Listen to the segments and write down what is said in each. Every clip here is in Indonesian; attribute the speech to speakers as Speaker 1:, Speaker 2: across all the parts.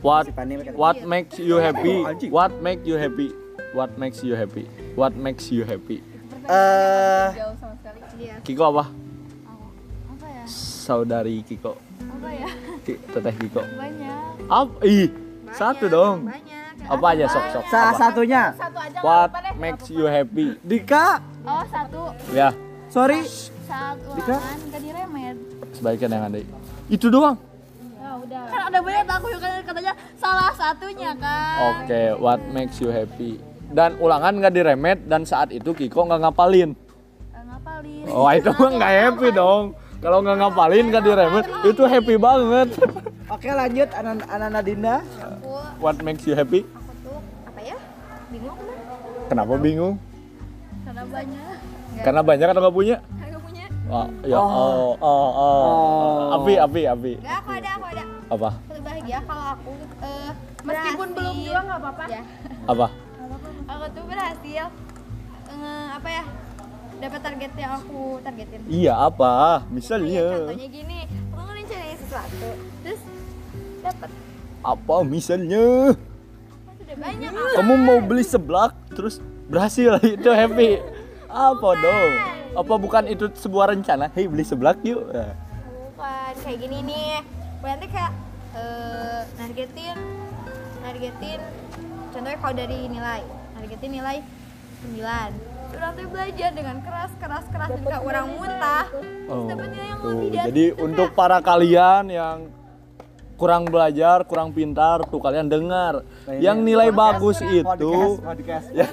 Speaker 1: What
Speaker 2: Si Pani pakai-
Speaker 1: What makes you happy? What makes you happy? What makes you happy? What makes you happy?
Speaker 2: Eh,
Speaker 3: jauh sama sekali
Speaker 4: Iya.
Speaker 1: Kiko apa?
Speaker 4: Aku- Apa ya?
Speaker 1: Saudari Kiko,
Speaker 4: Apa ya?
Speaker 1: Ki- teteh Kiko.
Speaker 4: Banyak.
Speaker 1: Apa? Ih, satu
Speaker 4: Banyak,
Speaker 1: dong.
Speaker 4: Banyak.
Speaker 1: Apa aja sok sok?
Speaker 2: salah
Speaker 1: apa?
Speaker 2: satunya
Speaker 3: satu aja nggak
Speaker 1: What
Speaker 3: apa-apa deh, nggak
Speaker 1: makes
Speaker 3: apa-apa.
Speaker 1: you happy?
Speaker 2: Dika
Speaker 4: Oh satu
Speaker 1: Ya,
Speaker 2: sorry
Speaker 4: saat
Speaker 2: Dika?
Speaker 4: ulangan gak diremet.
Speaker 1: sebaiknya yang ada. Itu doang.
Speaker 3: ya udah
Speaker 4: Kan ada banyak aku yang kan katanya salah satunya kan.
Speaker 1: Oke, what makes you happy? Dan ulangan nggak diremet dan saat itu Kiko nggak ngapalin.
Speaker 4: Eh, Ngapalin.
Speaker 1: Oh itu mah nggak happy dong. Kalau nggak ngapalin nggak diremet itu happy banget.
Speaker 2: oke lanjut Anan Anana Dinda
Speaker 5: aku
Speaker 1: What makes you happy?
Speaker 5: aku tuh apa ya bingung kan
Speaker 1: Kenapa bingung?
Speaker 4: Karena banyak.
Speaker 1: Karena banyak atau nggak punya?
Speaker 5: nggak punya
Speaker 1: Oh, ya, oh, oh, oh.
Speaker 2: Oh.
Speaker 1: Api, api, api.
Speaker 5: nggak aku ada aku ada
Speaker 1: Apa?
Speaker 5: lebih bahagia kalau aku eh,
Speaker 3: meskipun
Speaker 5: berhasil-
Speaker 3: belum juga nggak apa-apa
Speaker 5: ya
Speaker 1: Apa?
Speaker 5: aku tuh berhasil eh, apa ya dapat target yang aku targetin
Speaker 1: Iya apa?
Speaker 5: Iya,
Speaker 1: Misalnya.
Speaker 5: contohnya gini aku ngerencanain sesuatu terus dapat
Speaker 1: Apa misalnya?
Speaker 5: sudah banyak
Speaker 1: Kamu mau beli seblak terus berhasil itu happy. Apa dong? Apa bukan itu sebuah rencana? Hei beli seblak yuk. Nah.
Speaker 5: bukan kayak gini nih berarti kayak eh, nargetin nargetin contohnya kalau dari nilai nargetin nilai 9 orang tuh belajar dengan keras keras keras dan kayak orang muntah
Speaker 1: Oh,
Speaker 5: dapat nilai yang
Speaker 1: tuh.
Speaker 5: lebih dari
Speaker 1: Jadi
Speaker 5: itu,
Speaker 1: untuk
Speaker 5: Kak.
Speaker 1: para kalian yang kurang belajar, kurang pintar, tuh kalian dengar.
Speaker 2: Nah,
Speaker 1: yang
Speaker 2: ini
Speaker 1: nilai bagus itu, Ya.
Speaker 2: podcast podcast
Speaker 1: yang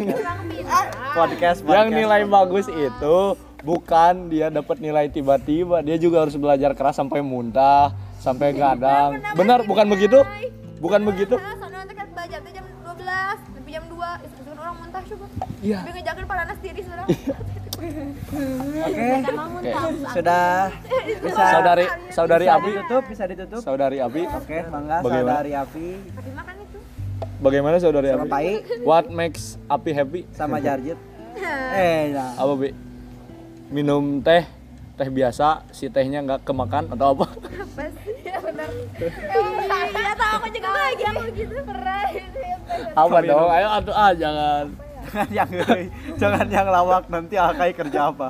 Speaker 2: podcast
Speaker 1: yang
Speaker 2: podcast.
Speaker 1: nilai bagus itu bukan dia dapat nilai tiba-tiba, dia juga harus belajar keras sampai muntah, sampai
Speaker 5: Iya,
Speaker 1: gadang. Benar, bukan begitu? Bukan kan begitu?
Speaker 5: Nah, soalnya nanti kan belajar tuh jam 12 sampai jam 2 itu kan orang muntah coba
Speaker 1: Iya.
Speaker 5: tapi ngejakan panas diri seorang
Speaker 2: oke
Speaker 1: Oke.
Speaker 2: sudah bisa
Speaker 1: Saudari saudari
Speaker 2: bisa
Speaker 1: Iya, Abi,
Speaker 2: ditutup bisa ditutup
Speaker 1: saudari Abi,
Speaker 2: oke mangga
Speaker 1: Bagaimana?
Speaker 2: saudari Api
Speaker 5: tapi makan itu
Speaker 1: bagaimana saudari
Speaker 2: sama
Speaker 1: Abi? Iya.
Speaker 2: Pai
Speaker 1: What makes Abi happy?
Speaker 2: sama Jarjit eh nah.
Speaker 1: Apa Bi? Minum teh, teh biasa, si tehnya nggak kemakan atau apa?
Speaker 5: apa sih ya benar iya tahu aku juga bahagia Iya, aku gitu pernah
Speaker 1: apa
Speaker 2: Minum.
Speaker 1: dong? Ayo atuh ah jangan.
Speaker 2: jangan yang jangan yang lawak nanti Akai kerja apa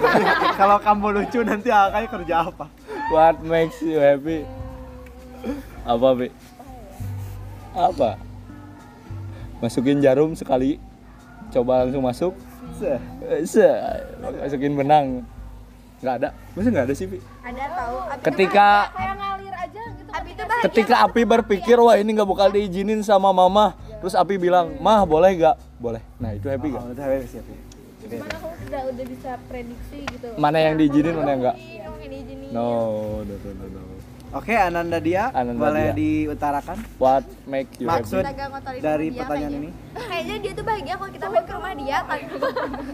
Speaker 2: kalau kamu lucu nanti Akai kerja apa
Speaker 1: What makes you happy? Apa Bi? Apa? Masukin jarum sekali, coba langsung masuk.
Speaker 2: Seh.
Speaker 1: Eh, Se, masukin benang. Nggak ada, masa nggak ada sih Bi?
Speaker 5: ada tahu Abi tuh
Speaker 1: Ketika
Speaker 3: kayak ngalir aja gitu
Speaker 5: Abi itu bahagia
Speaker 1: ketika Api berpikir wah ini nggak bakal diizinin sama Mama, terus Api bilang mah boleh nggak? Boleh. Nah itu happy nggak?
Speaker 2: Oh, udah habis ya, Pi.
Speaker 3: cuman aku udah udah bisa prediksi gitu
Speaker 1: Mana yang diizinin, mana yang nggak?
Speaker 5: Ini dong, ini jenis.
Speaker 1: No, no, no, no, no.
Speaker 2: Oke, Ananda Dia,
Speaker 1: Ananda
Speaker 2: boleh
Speaker 1: Dia.
Speaker 2: diutarakan
Speaker 1: What make you
Speaker 2: maksud
Speaker 1: happy?
Speaker 5: Agak ngotorin
Speaker 2: dari
Speaker 5: rumah dia
Speaker 2: pertanyaan
Speaker 5: kayaknya.
Speaker 2: ini?
Speaker 5: kayaknya dia tuh bahagia kalau kita main ke rumah dia tanpa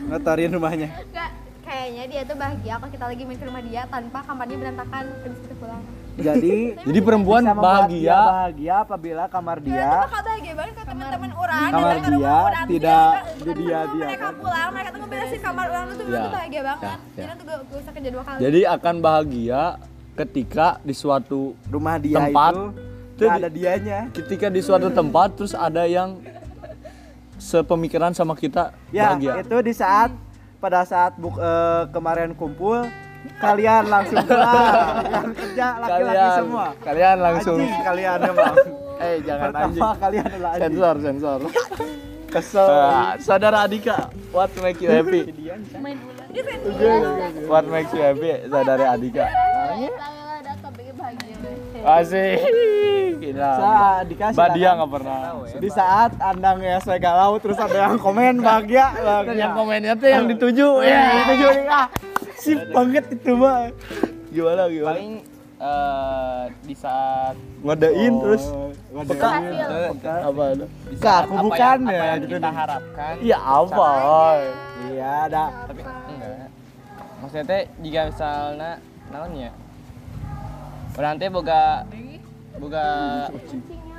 Speaker 2: Ngotorin rumahnya.
Speaker 5: enggak kayaknya dia tuh bahagia kalau kita lagi main ke rumah dia tanpa kamarnya berantakan habis itu pulang
Speaker 2: Jadi
Speaker 1: Jadi perempuan
Speaker 2: bisa membuat dia
Speaker 1: bahagia
Speaker 2: bahagia apabila kamar
Speaker 5: Dia
Speaker 2: dia
Speaker 5: tuh bakal bahagia banget kalau teman-teman orang
Speaker 2: Kamar
Speaker 5: datang ke rumah
Speaker 2: Iya. dia
Speaker 5: orang.
Speaker 2: tidak
Speaker 5: Dia- bukan
Speaker 2: di dia-
Speaker 5: teman,
Speaker 2: dia, Iya.
Speaker 5: mereka
Speaker 2: kan?
Speaker 5: pulang mereka tuh ngeberesin kamar orang tuh
Speaker 1: Ya.
Speaker 5: tuh bahagia banget
Speaker 1: Ya, ya.
Speaker 5: jadi tuh gak, gak usah kerja dua kali
Speaker 1: Jadi akan bahagia ketika di suatu
Speaker 2: rumah dia
Speaker 1: Tempat.
Speaker 2: itu
Speaker 1: Itu
Speaker 2: nggak
Speaker 1: di-
Speaker 2: ada dianya.
Speaker 1: ketika di suatu tempat terus ada yang sepemikiran sama kita
Speaker 2: Ya,
Speaker 1: bahagia.
Speaker 2: itu di saat pada saat buk, eh, kemarin kumpul kalian langsung pulang yang kerja laki-laki
Speaker 1: kalian
Speaker 2: semua.
Speaker 1: kalian langsung
Speaker 2: Anjing kalian emang.
Speaker 1: eh jangan anjing.
Speaker 2: Pertama kalian adalah anjing.
Speaker 1: Sensor, sensor.
Speaker 2: Kesel.
Speaker 1: Ah, saudara Adika, what make you happy? What makes you happy? Saudari Adika.
Speaker 3: Tanggal ada topiknya bahagia
Speaker 1: Asik. Gila.
Speaker 2: Sa, dikasih
Speaker 1: Mbak Dia
Speaker 2: silakan.
Speaker 1: nggak pernah.
Speaker 2: Di saat Anda nge-SW galau terus ada yang komen bahagia, ya. bahagia.
Speaker 1: Yang komennya tuh yang dituju. Ya, dituju nih. Ah, sip banget itu mah. Gimana gimana?
Speaker 6: paling eh, di saat
Speaker 1: Ngodein terus
Speaker 2: Peka.
Speaker 1: peka apa ada?
Speaker 6: di
Speaker 2: Kak,
Speaker 6: saat
Speaker 2: aku
Speaker 6: apa
Speaker 2: bukan
Speaker 6: yang, apa
Speaker 2: ya,
Speaker 6: yang
Speaker 2: gitu
Speaker 6: kita
Speaker 2: nih.
Speaker 6: harapkan
Speaker 1: Iya apa?
Speaker 2: Iya, ada.
Speaker 6: tapi enggak maksudnya teh jika misalnya naonnya orang teh boga boga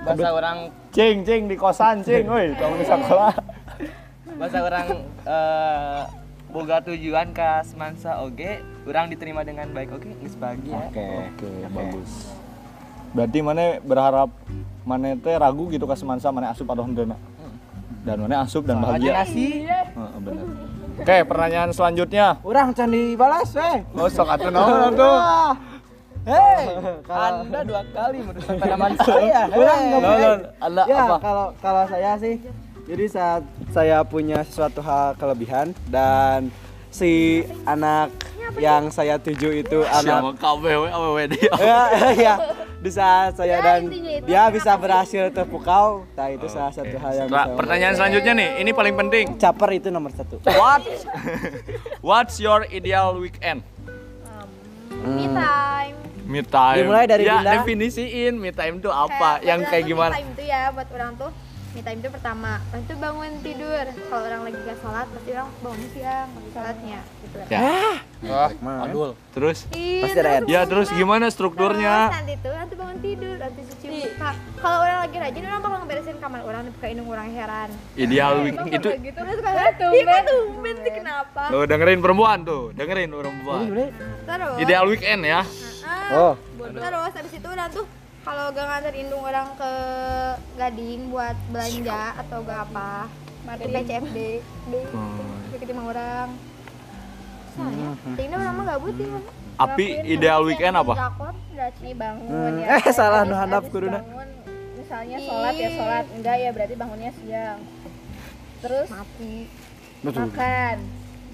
Speaker 6: bahasa orang
Speaker 1: Cing cing di kosan cing, woi, kamu di sekolah.
Speaker 6: bahasa orang eh, boga tujuan ke semansa oge orang diterima dengan ya. baik oke geus bahagia
Speaker 1: Oke, bagus. Berarti mana berharap mana teh ragu gitu ka semansa mana asup atau hendena dan mana asup dan
Speaker 2: Iya.
Speaker 6: Aja
Speaker 1: bahagia
Speaker 6: nasi.
Speaker 1: Heeh, Oh, bener. oke pertanyaan selanjutnya
Speaker 2: Urang can dibalas weh.
Speaker 1: oh sok atuh naon atuh
Speaker 2: Hei, kalau
Speaker 6: Anda dua kali merusak tanaman saya.
Speaker 2: Urang nggak
Speaker 1: Naon,
Speaker 2: boleh.
Speaker 1: naon? Anda
Speaker 2: Oh, iya, ya,
Speaker 1: apa
Speaker 2: kalau kalau saya sih jadi saat saya punya sesuatu hal kelebihan dan si anak yang saya tuju itu anak
Speaker 1: kabeh we awewe dia
Speaker 2: ya, ya di saat saya dan
Speaker 3: Ya, intinya itu
Speaker 2: dia bisa berhasil terpukau nah itu salah satu hal yang bisa
Speaker 1: Nah, pertanyaan selanjutnya nih ini paling penting
Speaker 2: caper itu nomor satu
Speaker 1: what what's your ideal weekend
Speaker 2: Hmm.
Speaker 5: Me time.
Speaker 1: me time
Speaker 2: Dimulai dari
Speaker 1: ya
Speaker 2: Dinda.
Speaker 1: definisiin me time tuh apa
Speaker 5: buat
Speaker 1: yang
Speaker 5: orang
Speaker 1: kayak
Speaker 5: tuh
Speaker 1: gimana
Speaker 5: Me time itu ya buat orang tuh me time itu pertama, orang tuh bangun tidur. Kalau orang lagi gak sholat, pasti orang bangun siang, lagi sholatnya gitu.
Speaker 1: ya
Speaker 2: Aduh.
Speaker 1: terus
Speaker 5: Ih,
Speaker 2: Pasti ada ad.
Speaker 5: terus
Speaker 1: ya terus
Speaker 5: bangun.
Speaker 1: gimana
Speaker 5: Terus
Speaker 1: strukturnya
Speaker 5: nanti tuh nanti bangun tidur, nanti cuci muka. Kalau orang lagi rajin, orang bakal ngeberesin kamar orang, bukain orang heran.
Speaker 1: ideal weekend itu
Speaker 5: Gitu terus kayak dia kok tumben sih kenapa?
Speaker 1: Tuh dengerin perempuan tuh, dengerin perempuan.
Speaker 5: Terus,
Speaker 1: Ideal weekend ya.
Speaker 2: oh
Speaker 5: ah, terus habis itu orang tuh kalau gak nganter indung orang ke Gading buat belanja atau gak apa, ke PCFD, deh.
Speaker 1: Hmm.
Speaker 5: ketemu orang. Soalnya, kayaknya orang mah gabut ya.
Speaker 1: Api hmm. ideal weekend apa? Hmm.
Speaker 5: Drakor,
Speaker 3: Ini bangun ya.
Speaker 2: eh salah
Speaker 3: Terus
Speaker 2: nu handap
Speaker 3: abis
Speaker 2: kuduna
Speaker 3: bangun, Misalnya sholat ya sholat, enggak ya berarti bangunnya siang. Terus
Speaker 5: mati.
Speaker 3: makan,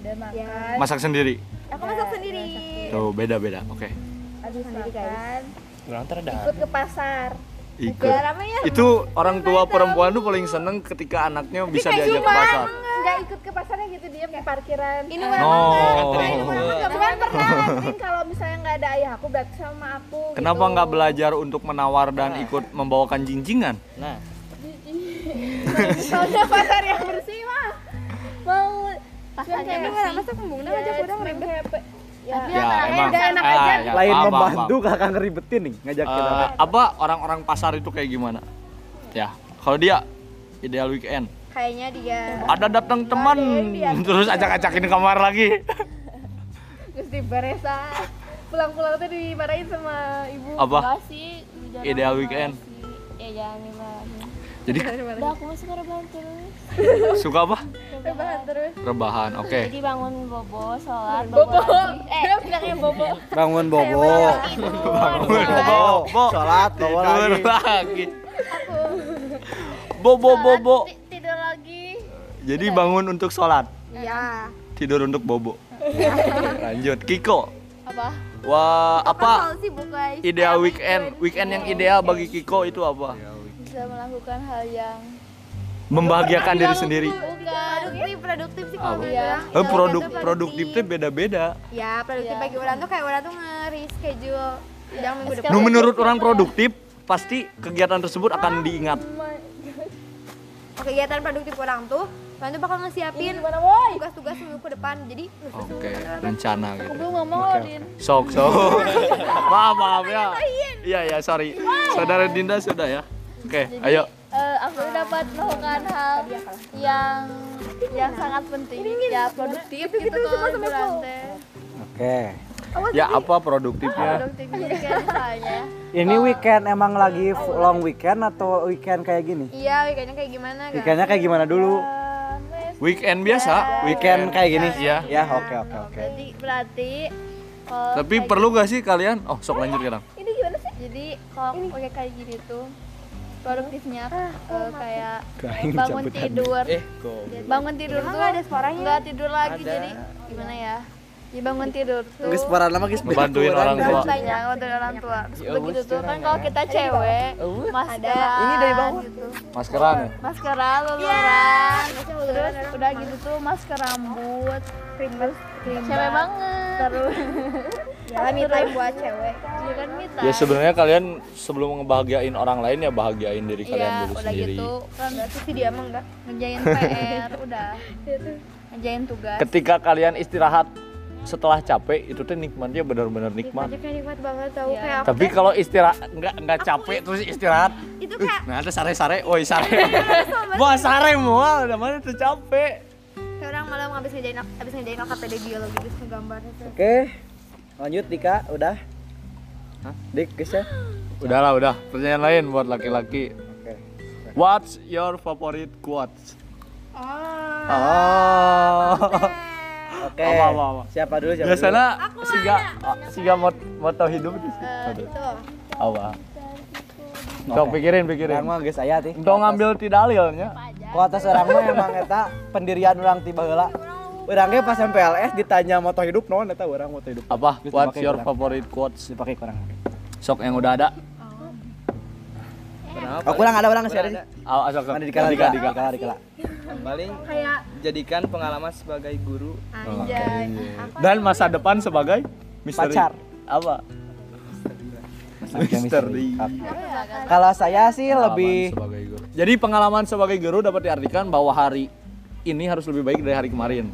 Speaker 3: udah makan.
Speaker 1: Masak sendiri.
Speaker 5: Aku masak sendiri.
Speaker 1: Tuh beda-beda. Oke.
Speaker 3: Habis makan,
Speaker 6: Kurang terdak.
Speaker 3: kan? ikut ke pasar.
Speaker 1: Ikut.
Speaker 5: Gak ramai ya.
Speaker 1: Itu orang tua perempuan tuh paling seneng ketika anaknya bisa diajak ke pasar.
Speaker 3: Enggak ikut ke pasarnya gitu dia di parkiran.
Speaker 5: Ini
Speaker 3: Ah.
Speaker 5: orang
Speaker 1: No.
Speaker 2: Oh.
Speaker 3: Cuman pernah ngalamin kalau misalnya nggak ada ayah aku berarti sama aku. Gitu.
Speaker 1: Kenapa nggak belajar untuk menawar dan ikut membawakan jinjingan?
Speaker 6: Nah,
Speaker 3: Soalnya pasar yang bersih mah mau pasar
Speaker 5: Tapi orang masak pembungna
Speaker 3: Iya,
Speaker 5: aja kurang ribet.
Speaker 3: Ya,
Speaker 1: Ya emang.
Speaker 3: nggak enak
Speaker 1: Ah,
Speaker 3: aja.
Speaker 1: ya,
Speaker 2: lain
Speaker 1: paham, paham,
Speaker 2: membantu
Speaker 1: paham.
Speaker 2: kakak ngeribetin nih ngajak kita
Speaker 1: Eh, apa orang-orang pasar itu kayak gimana? Ya kalau dia ideal weekend.
Speaker 5: Kayaknya dia
Speaker 1: Ada datang teman terus acak-acakin kamar lagi.
Speaker 3: Terus di Baresa pulang-pulang tuh dimarahin sama ibu.
Speaker 1: Apa?
Speaker 4: sih
Speaker 1: Ideal weekend.
Speaker 4: ya jangan dimarahin
Speaker 1: Jadi
Speaker 4: udah aku masuk ke rebahan terus
Speaker 1: suka apa?
Speaker 3: Rebahan terus.
Speaker 1: Rebahan. Oke.
Speaker 4: jadi bangun bobo sholat
Speaker 3: Bobo.
Speaker 4: bobo
Speaker 3: Eh, dia bilangnya bobo.
Speaker 2: bangun bobo
Speaker 3: gitu.
Speaker 1: Eh,
Speaker 2: bobo sholat bobo
Speaker 1: Tidur
Speaker 2: lagi
Speaker 1: lagi. Bobo bobo.
Speaker 2: Oh.
Speaker 3: Tidur lagi.
Speaker 1: Jadi bangun untuk sholat,
Speaker 5: ya.
Speaker 1: tidur untuk bobo. Lanjut Kiko.
Speaker 3: Apa?
Speaker 1: Wah apa
Speaker 5: Kalau sibuk guys.
Speaker 1: ideal weekend? Weekend yang ideal bagi Kiko itu apa?
Speaker 4: bisa melakukan hal yang
Speaker 1: Membahagiakan diri sendiri.
Speaker 5: Produktif, produktif sih kalau
Speaker 1: Apa?
Speaker 5: menurut orang.
Speaker 1: Eh, produk produktif itu beda-beda.
Speaker 5: Ya, produktif bagi orang tuh kayak orang tuh ngeri schedule udah minggu depan.
Speaker 1: Nu menurut orang produktif pasti kegiatan tersebut akan diingat.
Speaker 5: Oke, kegiatan produktif orang tuh orang tuh bakal ngesiapin
Speaker 3: Gimana woi?
Speaker 5: tugas-tugas minggu ke depan. Jadi
Speaker 2: Oh.
Speaker 1: Oke, rencana gitu.
Speaker 4: belum ngomong loh din
Speaker 1: Sok sok. maaf maaf ya. Iya ya sorry. Saudara Dinda sudah ya. Oke, ayo.
Speaker 4: Eh, aku dapat melakukan hal yang yang sangat penting ya produktif gitu kalau liburan teh
Speaker 2: oke
Speaker 1: Ya apa produktifnya?
Speaker 4: produktif jadi kayak misalnya
Speaker 2: ini weekend emang lagi f- long weekend atau weekend kayak gini
Speaker 5: iya, weekendnya kayak gimana guys?
Speaker 2: weekendnya kayak gimana dulu
Speaker 1: Weekend biasa,
Speaker 2: weekend kayak gini
Speaker 1: Iya.
Speaker 2: ya oke oke oke
Speaker 4: Nah, berarti berarti eh, kalau
Speaker 1: Tapi perlu gak sih kalian? Oh, sok lanjut kadang.
Speaker 4: jadi kalau aku pakai kayak gini tuh produktifnya eh, cabutan.
Speaker 2: Kain
Speaker 4: kayak bangun
Speaker 2: cabutan.
Speaker 4: tidur
Speaker 6: eh kok.
Speaker 4: bangun tidur tuh nggak ada suaranya nggak tidur lagi jadi gimana ya ya bangun tidur tuh
Speaker 2: Geus parah lama geus
Speaker 1: Ngebantuin orang tua.
Speaker 4: banyak dari orang tua terus udah gitu tuh kan kalau kita cewek maskeran ini dari bawah gitu
Speaker 1: Maskeran ya?
Speaker 4: maskeran luluran terus udah gitu tuh masker rambut krimbas cewek banget terus kan,
Speaker 5: Ya, me time buat cewek.
Speaker 4: bukan mita
Speaker 1: Ya sebenarnya kalian sebelum ngebahagiain orang lain ya bahagiain diri kalian
Speaker 4: Iya,
Speaker 1: dulu
Speaker 4: udah
Speaker 1: sendiri.
Speaker 4: gitu kan
Speaker 5: Pasti dia emang enggak.
Speaker 4: ngejain PR udah Gitu. ngejain tugas
Speaker 1: Ketika kalian istirahat setelah capek itu tuh nikmatnya benar-benar nikmat.
Speaker 5: Dia kayak nikmat banget tahu
Speaker 4: Iya.
Speaker 5: kayak aku
Speaker 3: kan
Speaker 1: Tapi kalau istirahat nggak nggak capek terus istirahat,
Speaker 5: itu
Speaker 1: uh,
Speaker 5: kayak
Speaker 1: nah ada sare-sare, woi sare. Wah sare mual, udah mana tuh capek.
Speaker 5: kayak orang malam habis ngejain habis ngejain LKPD biologi terus ngegambar
Speaker 2: Oh.
Speaker 5: gitu.
Speaker 2: Oke, lanjut Dika, udah. Dik, guys ya.
Speaker 1: Udahlah udah, pertanyaan lain buat laki-laki. What's your favorite quotes? Ah.
Speaker 2: Oke.
Speaker 1: Apa, apa, apa?
Speaker 2: Siapa dulu? Siapa dulu?
Speaker 1: Biasanya siga siga mot moto hidup di situ.
Speaker 5: Itu.
Speaker 1: Apa? Sok pikirin pikirin.
Speaker 2: Orang mah geus aya tih.
Speaker 1: Untuk ngambil ti dalilnya.
Speaker 2: Ku atas orang mah emang eta pendirian orang tiba heula. Urang ge pas MPLS ditanya moto hidup naon eta urang moto hidup.
Speaker 1: Apa?
Speaker 2: Geus
Speaker 1: What's
Speaker 2: dipake
Speaker 1: your
Speaker 2: kurang.
Speaker 1: favorite quotes?
Speaker 2: Dipake kurang.
Speaker 1: Gitu, Sok yang udah ada.
Speaker 2: Oh, kurang ada orang sih ada.
Speaker 1: Aw, asok.
Speaker 2: Mana di kala di
Speaker 1: Dika,
Speaker 2: kala di
Speaker 1: Dika.
Speaker 2: kala di kala.
Speaker 6: paling jadikan pengalaman sebagai guru
Speaker 5: Anjay.
Speaker 1: Dan masa depan sebagai misteri.
Speaker 2: Pacar.
Speaker 1: Apa? Misteri.
Speaker 2: Kalau saya sih
Speaker 1: Pengalaman
Speaker 2: lebih
Speaker 1: sebagai guru. Jadi pengalaman sebagai guru dapat diartikan bahwa hari ini harus lebih baik dari hari kemarin.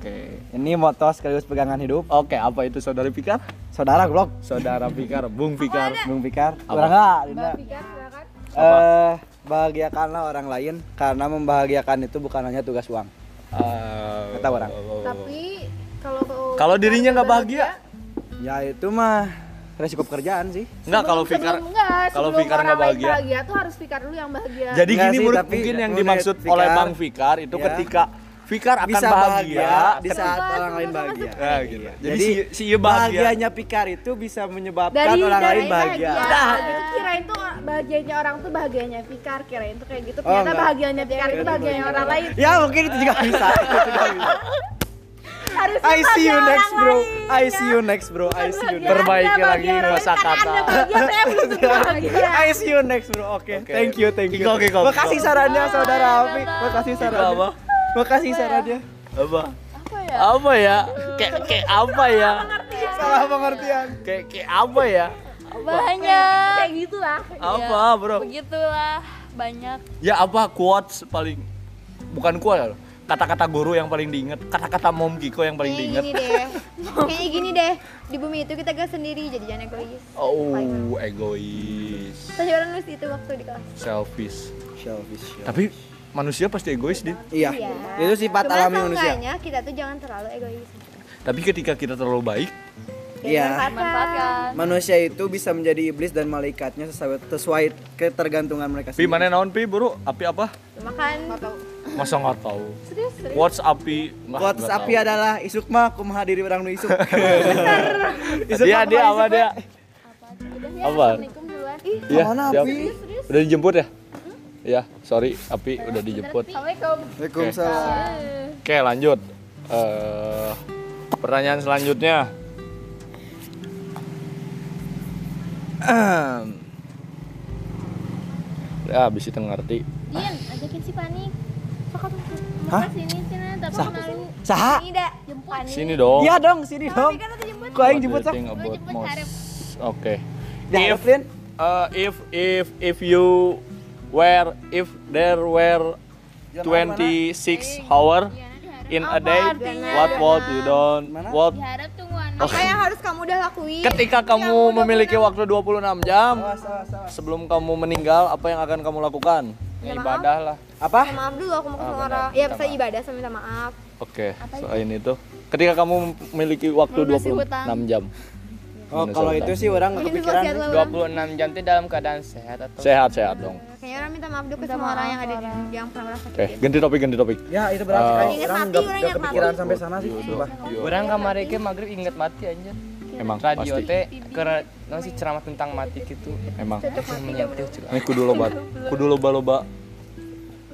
Speaker 1: Oke.
Speaker 2: ini moto sekaligus pegangan hidup.
Speaker 1: Oke, apa itu saudari Fikar?
Speaker 2: Saudara goblok,
Speaker 1: Saudara Fikar, Bung Fikar.
Speaker 2: Bung Fikar.
Speaker 1: Apa?
Speaker 2: Urang lah, Dinda.
Speaker 3: silakan.
Speaker 2: Eh, bahagiakanlah orang lain karena membahagiakan itu bukan hanya tugas uang. Kata orang.
Speaker 3: Tapi kalau
Speaker 1: Kalau dirinya nggak bahagia,
Speaker 2: Ya itu mah resiko pekerjaan sih.
Speaker 1: nggak kalau
Speaker 3: Sebelum-
Speaker 1: Fikar.
Speaker 3: sebelum- enggak,
Speaker 1: kalau
Speaker 3: sebelum
Speaker 1: Fikar nggak
Speaker 3: orang lain
Speaker 1: bahagia.
Speaker 3: tuh harus Fikar dulu yang bahagia.
Speaker 1: Jadi
Speaker 2: Nggak
Speaker 1: gini
Speaker 2: sih,
Speaker 1: menurut
Speaker 2: tapi
Speaker 1: mungkin yang
Speaker 2: menurut
Speaker 1: dimaksud
Speaker 2: Fikar-
Speaker 1: oleh Bang Fikar itu
Speaker 2: Ya.
Speaker 1: ketika Fikar akan
Speaker 2: Bisa
Speaker 1: bahagia.
Speaker 2: di saat orang lain bahagia.
Speaker 1: Nah, gitu. Jadi,
Speaker 2: Jadi,
Speaker 1: si, si bahagia.
Speaker 2: bahagianya Pikar itu bisa menyebabkan
Speaker 3: dari
Speaker 2: orang
Speaker 3: dari
Speaker 2: lain bahagia.
Speaker 5: Iya.
Speaker 3: Itu kirain tuh bahagianya orang tuh bahagianya Fikar, kirain tuh kayak gitu.
Speaker 2: Oh,
Speaker 3: Ternyata
Speaker 2: enggak.
Speaker 3: bahagianya Fikar itu bahagianya orang lain.
Speaker 2: Ya mungkin itu juga bisa. Itu juga bisa.
Speaker 3: Harus
Speaker 2: I see you next bro. I see you next bro. I see
Speaker 3: Iya,
Speaker 2: you next.
Speaker 1: Perbaiki lagi
Speaker 3: masa
Speaker 1: kosakata.
Speaker 3: Bahagia saya belum
Speaker 1: Iya.
Speaker 3: tentu bahagia.
Speaker 2: I see you next bro. Oke.
Speaker 1: Oke.
Speaker 2: Thank you, thank you.
Speaker 1: Kiko, Kiko, Kiko.
Speaker 2: Makasih sarannya saudara Afi. Makasih sarannya.
Speaker 1: apa?
Speaker 2: Makasih sarannya.
Speaker 1: Apa? Apa ya? Kayak kayak apa ya?
Speaker 2: Salah pengertian.
Speaker 1: Kayak kayak apa ya?
Speaker 4: Banyak.
Speaker 3: Kayak gitu lah.
Speaker 5: Iya.
Speaker 1: Apa,
Speaker 4: Ya,
Speaker 1: Bro?
Speaker 4: Begitulah banyak.
Speaker 1: Ya apa quotes paling bukan quotes kata-kata guru yang paling diinget, kata-kata Mom Kiko yang paling
Speaker 5: Kayaknya
Speaker 1: diinget.
Speaker 5: gini deh. Kayaknya gini deh. Di bumi itu kita gak sendiri jadi jangan egois.
Speaker 1: Oh, egois,
Speaker 5: Saya Iya. orang nulis itu waktu di kelas.
Speaker 1: selfish.
Speaker 2: Iya. Selfish.
Speaker 1: Tapi manusia pasti egois, Din.
Speaker 2: Iya. Itu sifat
Speaker 5: Cuma
Speaker 2: alami manusia.
Speaker 5: seenggaknya kita tuh jangan terlalu egois.
Speaker 1: Tapi ketika kita terlalu baik, ya.
Speaker 2: Iya.
Speaker 4: Manfaatkan.
Speaker 2: Manusia itu bisa menjadi iblis dan malaikatnya sesuai, sesuai ketergantungan mereka
Speaker 1: Pi mana naon Pi buru? Api apa?
Speaker 5: Makan
Speaker 1: Masa nggak tahu. Quotes api. Nggak-
Speaker 2: Kuat
Speaker 1: nggak
Speaker 2: api adalah isuk mah kumaha diri orang nu isuk.
Speaker 1: tahu. Dia dia apa dia? Apa? Iya.
Speaker 2: Kemana
Speaker 1: siap.
Speaker 2: api?
Speaker 1: Udah dijemput ya? Iya, sorry, api udah dijemput.
Speaker 2: Waalaikumsalam.
Speaker 1: Oke, lanjut. Eh, pertanyaan selanjutnya. Ahem. Ya, habis itu ngerti.
Speaker 4: Dian, ajakin si Panik.
Speaker 2: Hah?
Speaker 4: Sini sini tapi
Speaker 2: Sah.
Speaker 4: kenalin
Speaker 2: Saha?
Speaker 5: tidak.
Speaker 4: jemput.
Speaker 1: Sini dong.
Speaker 2: Iya dong, sini dong. Ku aing jemput sok.
Speaker 1: What do you think about
Speaker 4: jemput
Speaker 1: most-
Speaker 4: Sarif.
Speaker 1: Oke.
Speaker 2: Ya,
Speaker 1: If uh, if if if you were if there were 26 hour in a day, what would you done?
Speaker 2: Mana?
Speaker 1: What
Speaker 4: Diharap tungguan.
Speaker 5: Apa yang harus kamu udah lakuin?
Speaker 1: ketika kamu memiliki waktu 26 jam
Speaker 2: Awas, awas, awas.
Speaker 1: sebelum kamu meninggal, apa yang akan kamu lakukan? Ya, ibadah lah.
Speaker 5: Minta
Speaker 2: Apa?
Speaker 5: maaf dulu aku mau
Speaker 1: Ah,
Speaker 5: ke semua
Speaker 1: benar.
Speaker 5: orang. Ya
Speaker 1: Minta
Speaker 5: bisa
Speaker 1: maaf.
Speaker 5: ibadah sama minta maaf.
Speaker 1: Oke, selain itu, ketika kamu memiliki waktu 26
Speaker 4: Melunasi hutang.
Speaker 1: jam.
Speaker 2: Oh, kalau itu sih orang nggak kepikiran.
Speaker 5: Wasiat lo, orang.
Speaker 6: 26 jam itu dalam keadaan sehat atau
Speaker 1: Sehat-sehat dong.
Speaker 5: Kayaknya orang minta maaf dulu ke semua orang yang ada di yang pernah merasa gitu.
Speaker 1: Oke, ganti topik, ganti topik.
Speaker 2: Ya, itu
Speaker 1: Ah.
Speaker 2: berarti kan
Speaker 5: Ingat
Speaker 2: orang
Speaker 5: mati,
Speaker 2: nggak
Speaker 5: orang
Speaker 2: nggak
Speaker 5: ingat
Speaker 2: kepikiran
Speaker 5: mati.
Speaker 2: sampai sana sih.
Speaker 1: Iya.
Speaker 2: Sumpah.
Speaker 6: orang kemarin ke maghrib inget mati anjir
Speaker 1: Emang
Speaker 6: radio
Speaker 1: pasti.
Speaker 6: teh karena nasi ceramah tentang mati gitu
Speaker 1: Emang.
Speaker 6: menyentuh juga
Speaker 1: Ini kudu loba, kudu loba-loba.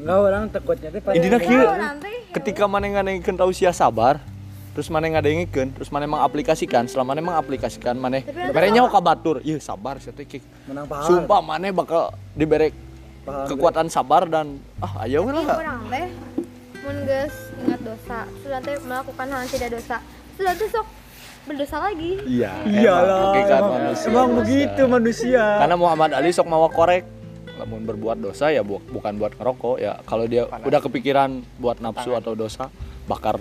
Speaker 2: Enggak orang takutnya teh pada
Speaker 1: Intinya kieu. Ketika mana ngadengkeun tausiah sabar, terus mana ngadengkeun, terus mana mengaplikasikan, selama mana mengaplikasikan mana merenya ka batur. Ieu iya, sabar sia teh kick.
Speaker 2: menang pahala.
Speaker 1: Sumpah mana bakal diberi
Speaker 2: Pahala.
Speaker 1: kekuatan sabar dan ah ayo we lah.
Speaker 5: orang teh mun geus ingat dosa, sudah teh melakukan hal yang tidak dosa. Sudah teh sok berdosa lagi.
Speaker 1: Iya.
Speaker 2: Iyalah.
Speaker 1: emang hakikat
Speaker 2: Emang,
Speaker 1: manusia. Iya. Kan-
Speaker 2: emang begitu manusia.
Speaker 1: Karena Muhammad Ali sok mawa korek. Namun berbuat dosa ya bu- bukan buat ngerokok ya. Kalau dia udah kepikiran buat nafsu atau dosa, bakar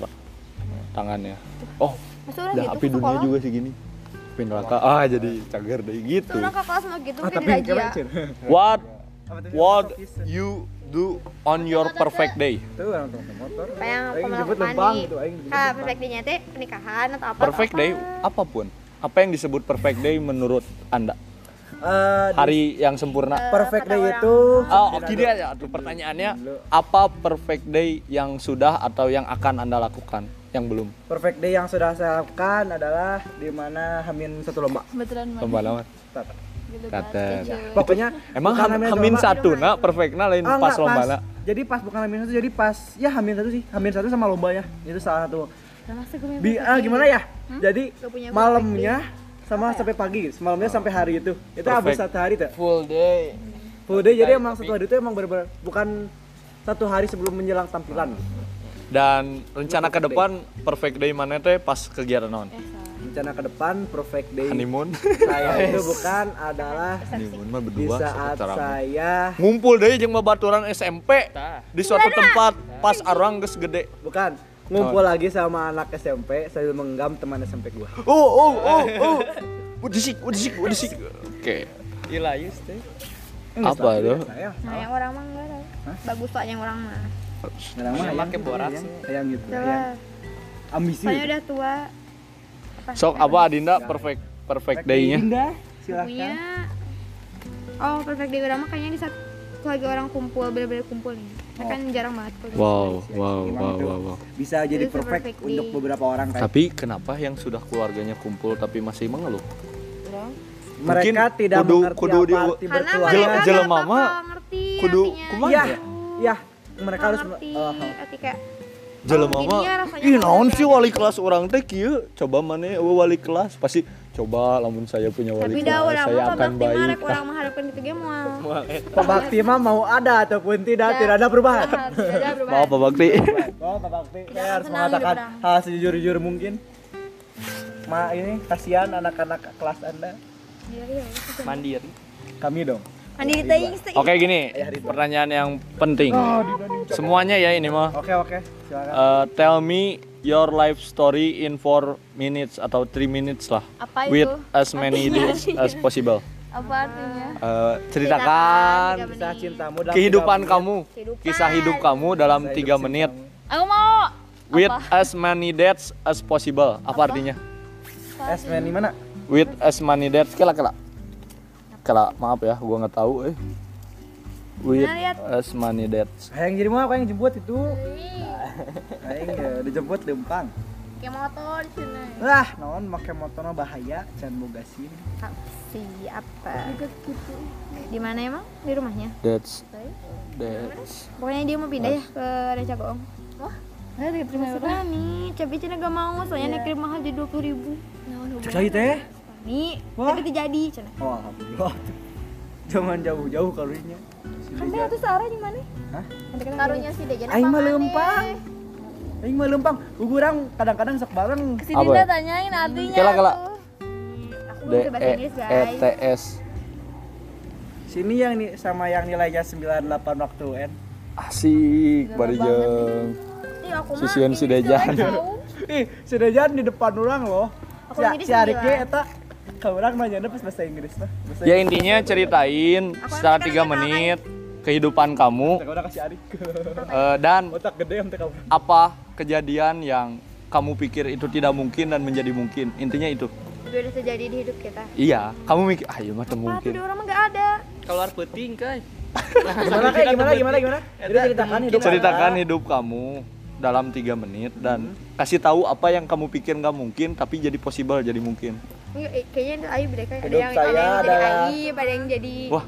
Speaker 1: tangannya. Oh,
Speaker 5: Maksud orang
Speaker 1: udah
Speaker 5: gitu
Speaker 1: api
Speaker 5: ke
Speaker 1: dunia
Speaker 5: sekolah?
Speaker 1: juga segini. Api neraka. Ah, jadi cager deh gitu.
Speaker 5: Orang ke kelas mau gitu
Speaker 2: Ah,
Speaker 5: mungkin
Speaker 2: tapi
Speaker 5: dirajia.
Speaker 2: kemana, Cin?
Speaker 1: What what you do on your perfect day?
Speaker 2: Tuh orang tuh motor.
Speaker 5: Apa yang
Speaker 2: Aing
Speaker 5: aku
Speaker 2: jemput
Speaker 5: melakukan
Speaker 2: lempang
Speaker 5: di
Speaker 2: tuh, aing jemput
Speaker 5: Kak, perfectnya teh pernikahan atau apa?
Speaker 1: Perfect day apapun. Apa yang disebut perfect day menurut Anda?
Speaker 2: Eh eh, di
Speaker 1: hari yang sempurna.
Speaker 2: perfect day itu
Speaker 1: Oh, oke dia ya. Aduh, pertanyaannya apa perfect day yang sudah atau yang akan Anda lakukan? Yang belum.
Speaker 2: perfect day yang sudah saya lakukan adalah di mana hamin satu lomba.
Speaker 4: Kebetulan gitu, banget.
Speaker 1: Lomba lama.
Speaker 2: Tat.
Speaker 1: Kata.
Speaker 2: Pokoknya
Speaker 1: Emang
Speaker 2: bukan
Speaker 1: ham-
Speaker 2: hamin satu
Speaker 1: hamin
Speaker 2: lomba.
Speaker 1: satu nah perfect nah lain
Speaker 2: Ah,
Speaker 1: pas
Speaker 2: enggak,
Speaker 1: lomba nah.
Speaker 2: Jadi pas bukan hamin satu, jadi pas ya hamin satu sih, hamin satu sama lombanya itu salah satu. Bi, ah, gimana ya? Jadi malamnya sama sampai pagi, semalamnya sampai hari itu. Itu
Speaker 1: Ah. Perfect.
Speaker 2: habis satu hari tuh.
Speaker 6: Full day.
Speaker 2: Full day, jadi emang satu hari itu emang bener-bener bukan satu hari sebelum menjelang tampilan.
Speaker 1: Dan rencana ke depan perfect day mana teh pas kegiatan non?
Speaker 5: Eh.
Speaker 2: Rencana ke depan perfect day
Speaker 1: Honeymoon.
Speaker 2: saya itu bukan adalah
Speaker 1: Honeymoon mah
Speaker 2: di
Speaker 1: berdua
Speaker 2: saat
Speaker 1: secara-
Speaker 2: saya
Speaker 1: ngumpul deh jeung babaturan SMP
Speaker 6: Tah.
Speaker 1: di suatu tempat pas arang geus gede.
Speaker 2: bukan ngumpul lagi sama anak SMP sambil menggam teman SMP gua.
Speaker 1: Oh oh oh oh. Udisik, udisik, udisik. Oke.
Speaker 6: Ilayus teh.
Speaker 1: Apa tuh?
Speaker 2: Saya
Speaker 5: Nah, yang orang mah enggak tahu. Bagus lah yang orang mah.
Speaker 2: Ngarang mah
Speaker 6: Yang
Speaker 2: ayam
Speaker 6: pakai
Speaker 2: gitu,
Speaker 6: borak
Speaker 2: ayam.
Speaker 6: sih.
Speaker 2: Ayam gitu.
Speaker 5: Coba.
Speaker 2: ayam. Ambisi.
Speaker 5: Soalnya udah tua.
Speaker 1: Sok apa Adinda perfect perfect day-nya?
Speaker 2: Indah, silakan.
Speaker 5: Punya.
Speaker 2: kan?
Speaker 5: Oh, perfect day orang mah kayaknya di saat lagi orang kumpul, bener-bener kumpul nih.
Speaker 2: Oh.
Speaker 5: Saya kan jarang banget kumpul.
Speaker 1: Wow, wow,
Speaker 2: Emang
Speaker 1: Oh, wow,
Speaker 2: itu
Speaker 1: wow, wow.
Speaker 2: Bisa jadi
Speaker 5: Itu
Speaker 2: perfect
Speaker 5: perfect
Speaker 2: untuk
Speaker 5: day.
Speaker 2: beberapa orang kan.
Speaker 1: Tapi kenapa yang sudah keluarganya kumpul tapi masih
Speaker 5: Oh,
Speaker 1: mengeluh?
Speaker 2: Mereka
Speaker 1: mungkin
Speaker 2: tidak
Speaker 1: kudu-
Speaker 2: mengerti
Speaker 1: kudu
Speaker 2: apa
Speaker 1: di-
Speaker 2: arti
Speaker 5: Karena
Speaker 2: berkeluarga.
Speaker 1: Jelas-
Speaker 5: mereka
Speaker 1: jelas
Speaker 5: nggak
Speaker 1: mama,
Speaker 5: bakal ngerti
Speaker 1: Kudu
Speaker 5: artinya.
Speaker 1: kumaha?
Speaker 2: Ya,
Speaker 1: ya?
Speaker 2: ya. Mereka
Speaker 5: Nggak
Speaker 2: harus
Speaker 5: ngerti,
Speaker 2: Oh,
Speaker 5: arti kayak
Speaker 1: Jelema
Speaker 5: Oh,
Speaker 1: mah.
Speaker 5: gini ya rasanya
Speaker 1: Ih,
Speaker 5: kalau gitu.
Speaker 1: naon
Speaker 5: ada
Speaker 1: sih wali kelas orang teh kieu? Coba mana we wali kelas pasti coba lamun saya punya
Speaker 5: tapi
Speaker 1: wali
Speaker 5: dah
Speaker 1: kelas
Speaker 5: orang
Speaker 1: saya
Speaker 5: mah
Speaker 1: akan
Speaker 5: bakti
Speaker 1: baik.
Speaker 5: marek orang mengharapkan gitu ge moal.
Speaker 2: Pembakti mah mau ada ataupun tidak, tidak ada perubahan.
Speaker 5: Tidak ada
Speaker 1: Ah, Maaf
Speaker 5: perubahan.
Speaker 1: Pak Bakti.
Speaker 2: Oh, Pak Bakti, saya harus
Speaker 5: senang
Speaker 2: mengatakan
Speaker 5: hidup orang.
Speaker 2: hal sejujur-jujur mungkin. Ma, ini kasihan anak-anak kelas Anda.
Speaker 6: Mandiri.
Speaker 2: Kami dong.
Speaker 5: Mandi teuing teuing.
Speaker 1: Oke, gini. Pertanyaan yang penting. Semuanya ya ini mah.
Speaker 2: Oke, oke. Silakan.
Speaker 1: Uh, tell me your life story in 4 minutes atau 3 minutes lah.
Speaker 4: Apa
Speaker 1: With
Speaker 4: itu?
Speaker 1: as many days as possible.
Speaker 4: Apa artinya?
Speaker 1: Uh, ceritakan
Speaker 2: Kisah cintamu dalam
Speaker 1: kehidupan
Speaker 2: tiga
Speaker 1: kamu, kisah hidup kamu dalam
Speaker 2: menit.
Speaker 1: tiga
Speaker 2: Kisah hidup
Speaker 1: menit.
Speaker 2: cintamu.
Speaker 4: Aku mau
Speaker 1: With as many dates as possible. Apa, artinya?
Speaker 2: Es meni mana?
Speaker 1: With as many dates kela kela. Kela, maaf ya, gua nggak tahu eh. With as many dates.
Speaker 2: Hayang jadi mau, yang jemput itu.
Speaker 5: Iya.
Speaker 2: Hayang ya, dijemput di Empang.
Speaker 5: Kayak motor di sini.
Speaker 2: Lah, naon make motorna bahaya, can boga SIM.
Speaker 5: Siapa? Di mana emang? Di rumahnya.
Speaker 1: Dates. Dates.
Speaker 5: Pokoknya dia mau pindah ya ke Raja Goong. Wah,
Speaker 4: Nggak diterima orang.
Speaker 5: sudah nih. Tapi Cina gak mau, soalnya naik mahal jadi dua puluh ribu.
Speaker 2: Cai teh.
Speaker 5: Nih,
Speaker 2: Wah.
Speaker 5: tapi terjadi Cina.
Speaker 2: Oh, alhamdulillah. Jangan jauh-jauh karunya.
Speaker 5: Kan saya tuh Sarah di mana?
Speaker 2: Hah?
Speaker 5: Karunya si Dejan.
Speaker 2: Aing mah lempang. Aing mah lempang. Gugurang kadang-kadang sok bareng.
Speaker 4: Si
Speaker 1: Apa
Speaker 4: Dinda
Speaker 1: ya?
Speaker 4: tanyain artinya.
Speaker 1: Kela kela.
Speaker 5: Aku
Speaker 1: D
Speaker 5: bisa
Speaker 2: eh,
Speaker 5: bahasa
Speaker 1: E
Speaker 5: Inggris
Speaker 1: E
Speaker 5: guys.
Speaker 1: T S.
Speaker 2: Sini yang nih sama yang nilainya 98 waktu N.
Speaker 1: Asik, bari jeung
Speaker 5: Ih, aku mah gitu
Speaker 1: sisian si Dejan.
Speaker 2: Ih, sudah jalan di depan orang loh.
Speaker 5: Aku
Speaker 2: Si,
Speaker 5: Inggris
Speaker 2: si Arik
Speaker 5: sembilan.
Speaker 2: ge eta ka urang nanya pas bahasa Inggris mah. Bahasa
Speaker 1: Ya intinya ceritain secara tiga menit kehidupan kamu
Speaker 2: Teka udah kasih Arik.
Speaker 1: eh, dan
Speaker 2: Otak gede yang teka urang.
Speaker 1: apa kejadian yang kamu pikir itu tidak mungkin dan menjadi mungkin. Intinya itu.
Speaker 5: Tapi udah terjadi di hidup kita.
Speaker 1: Iya, kamu mikir, ah iya mah teu
Speaker 5: Apa tuh dia
Speaker 1: mungkin.
Speaker 5: orang mah gak ada.
Speaker 6: Keluar puting kan.
Speaker 2: Gimana kayak gimana gimana gimana? Jadi ceritakan hidup.
Speaker 1: Ceritakan hidup kamu dalam tiga menit dan
Speaker 5: Hmm.
Speaker 1: kasih tahu apa yang kamu pikir nggak mungkin tapi jadi possible jadi mungkin.
Speaker 5: Enggak, eh, kayaknya itu Ayu beda kayak ada
Speaker 2: Hidup
Speaker 5: yang
Speaker 2: saya
Speaker 5: ada yang jadi
Speaker 2: adalah-
Speaker 5: Ayu, ada yang jadi
Speaker 1: Wah,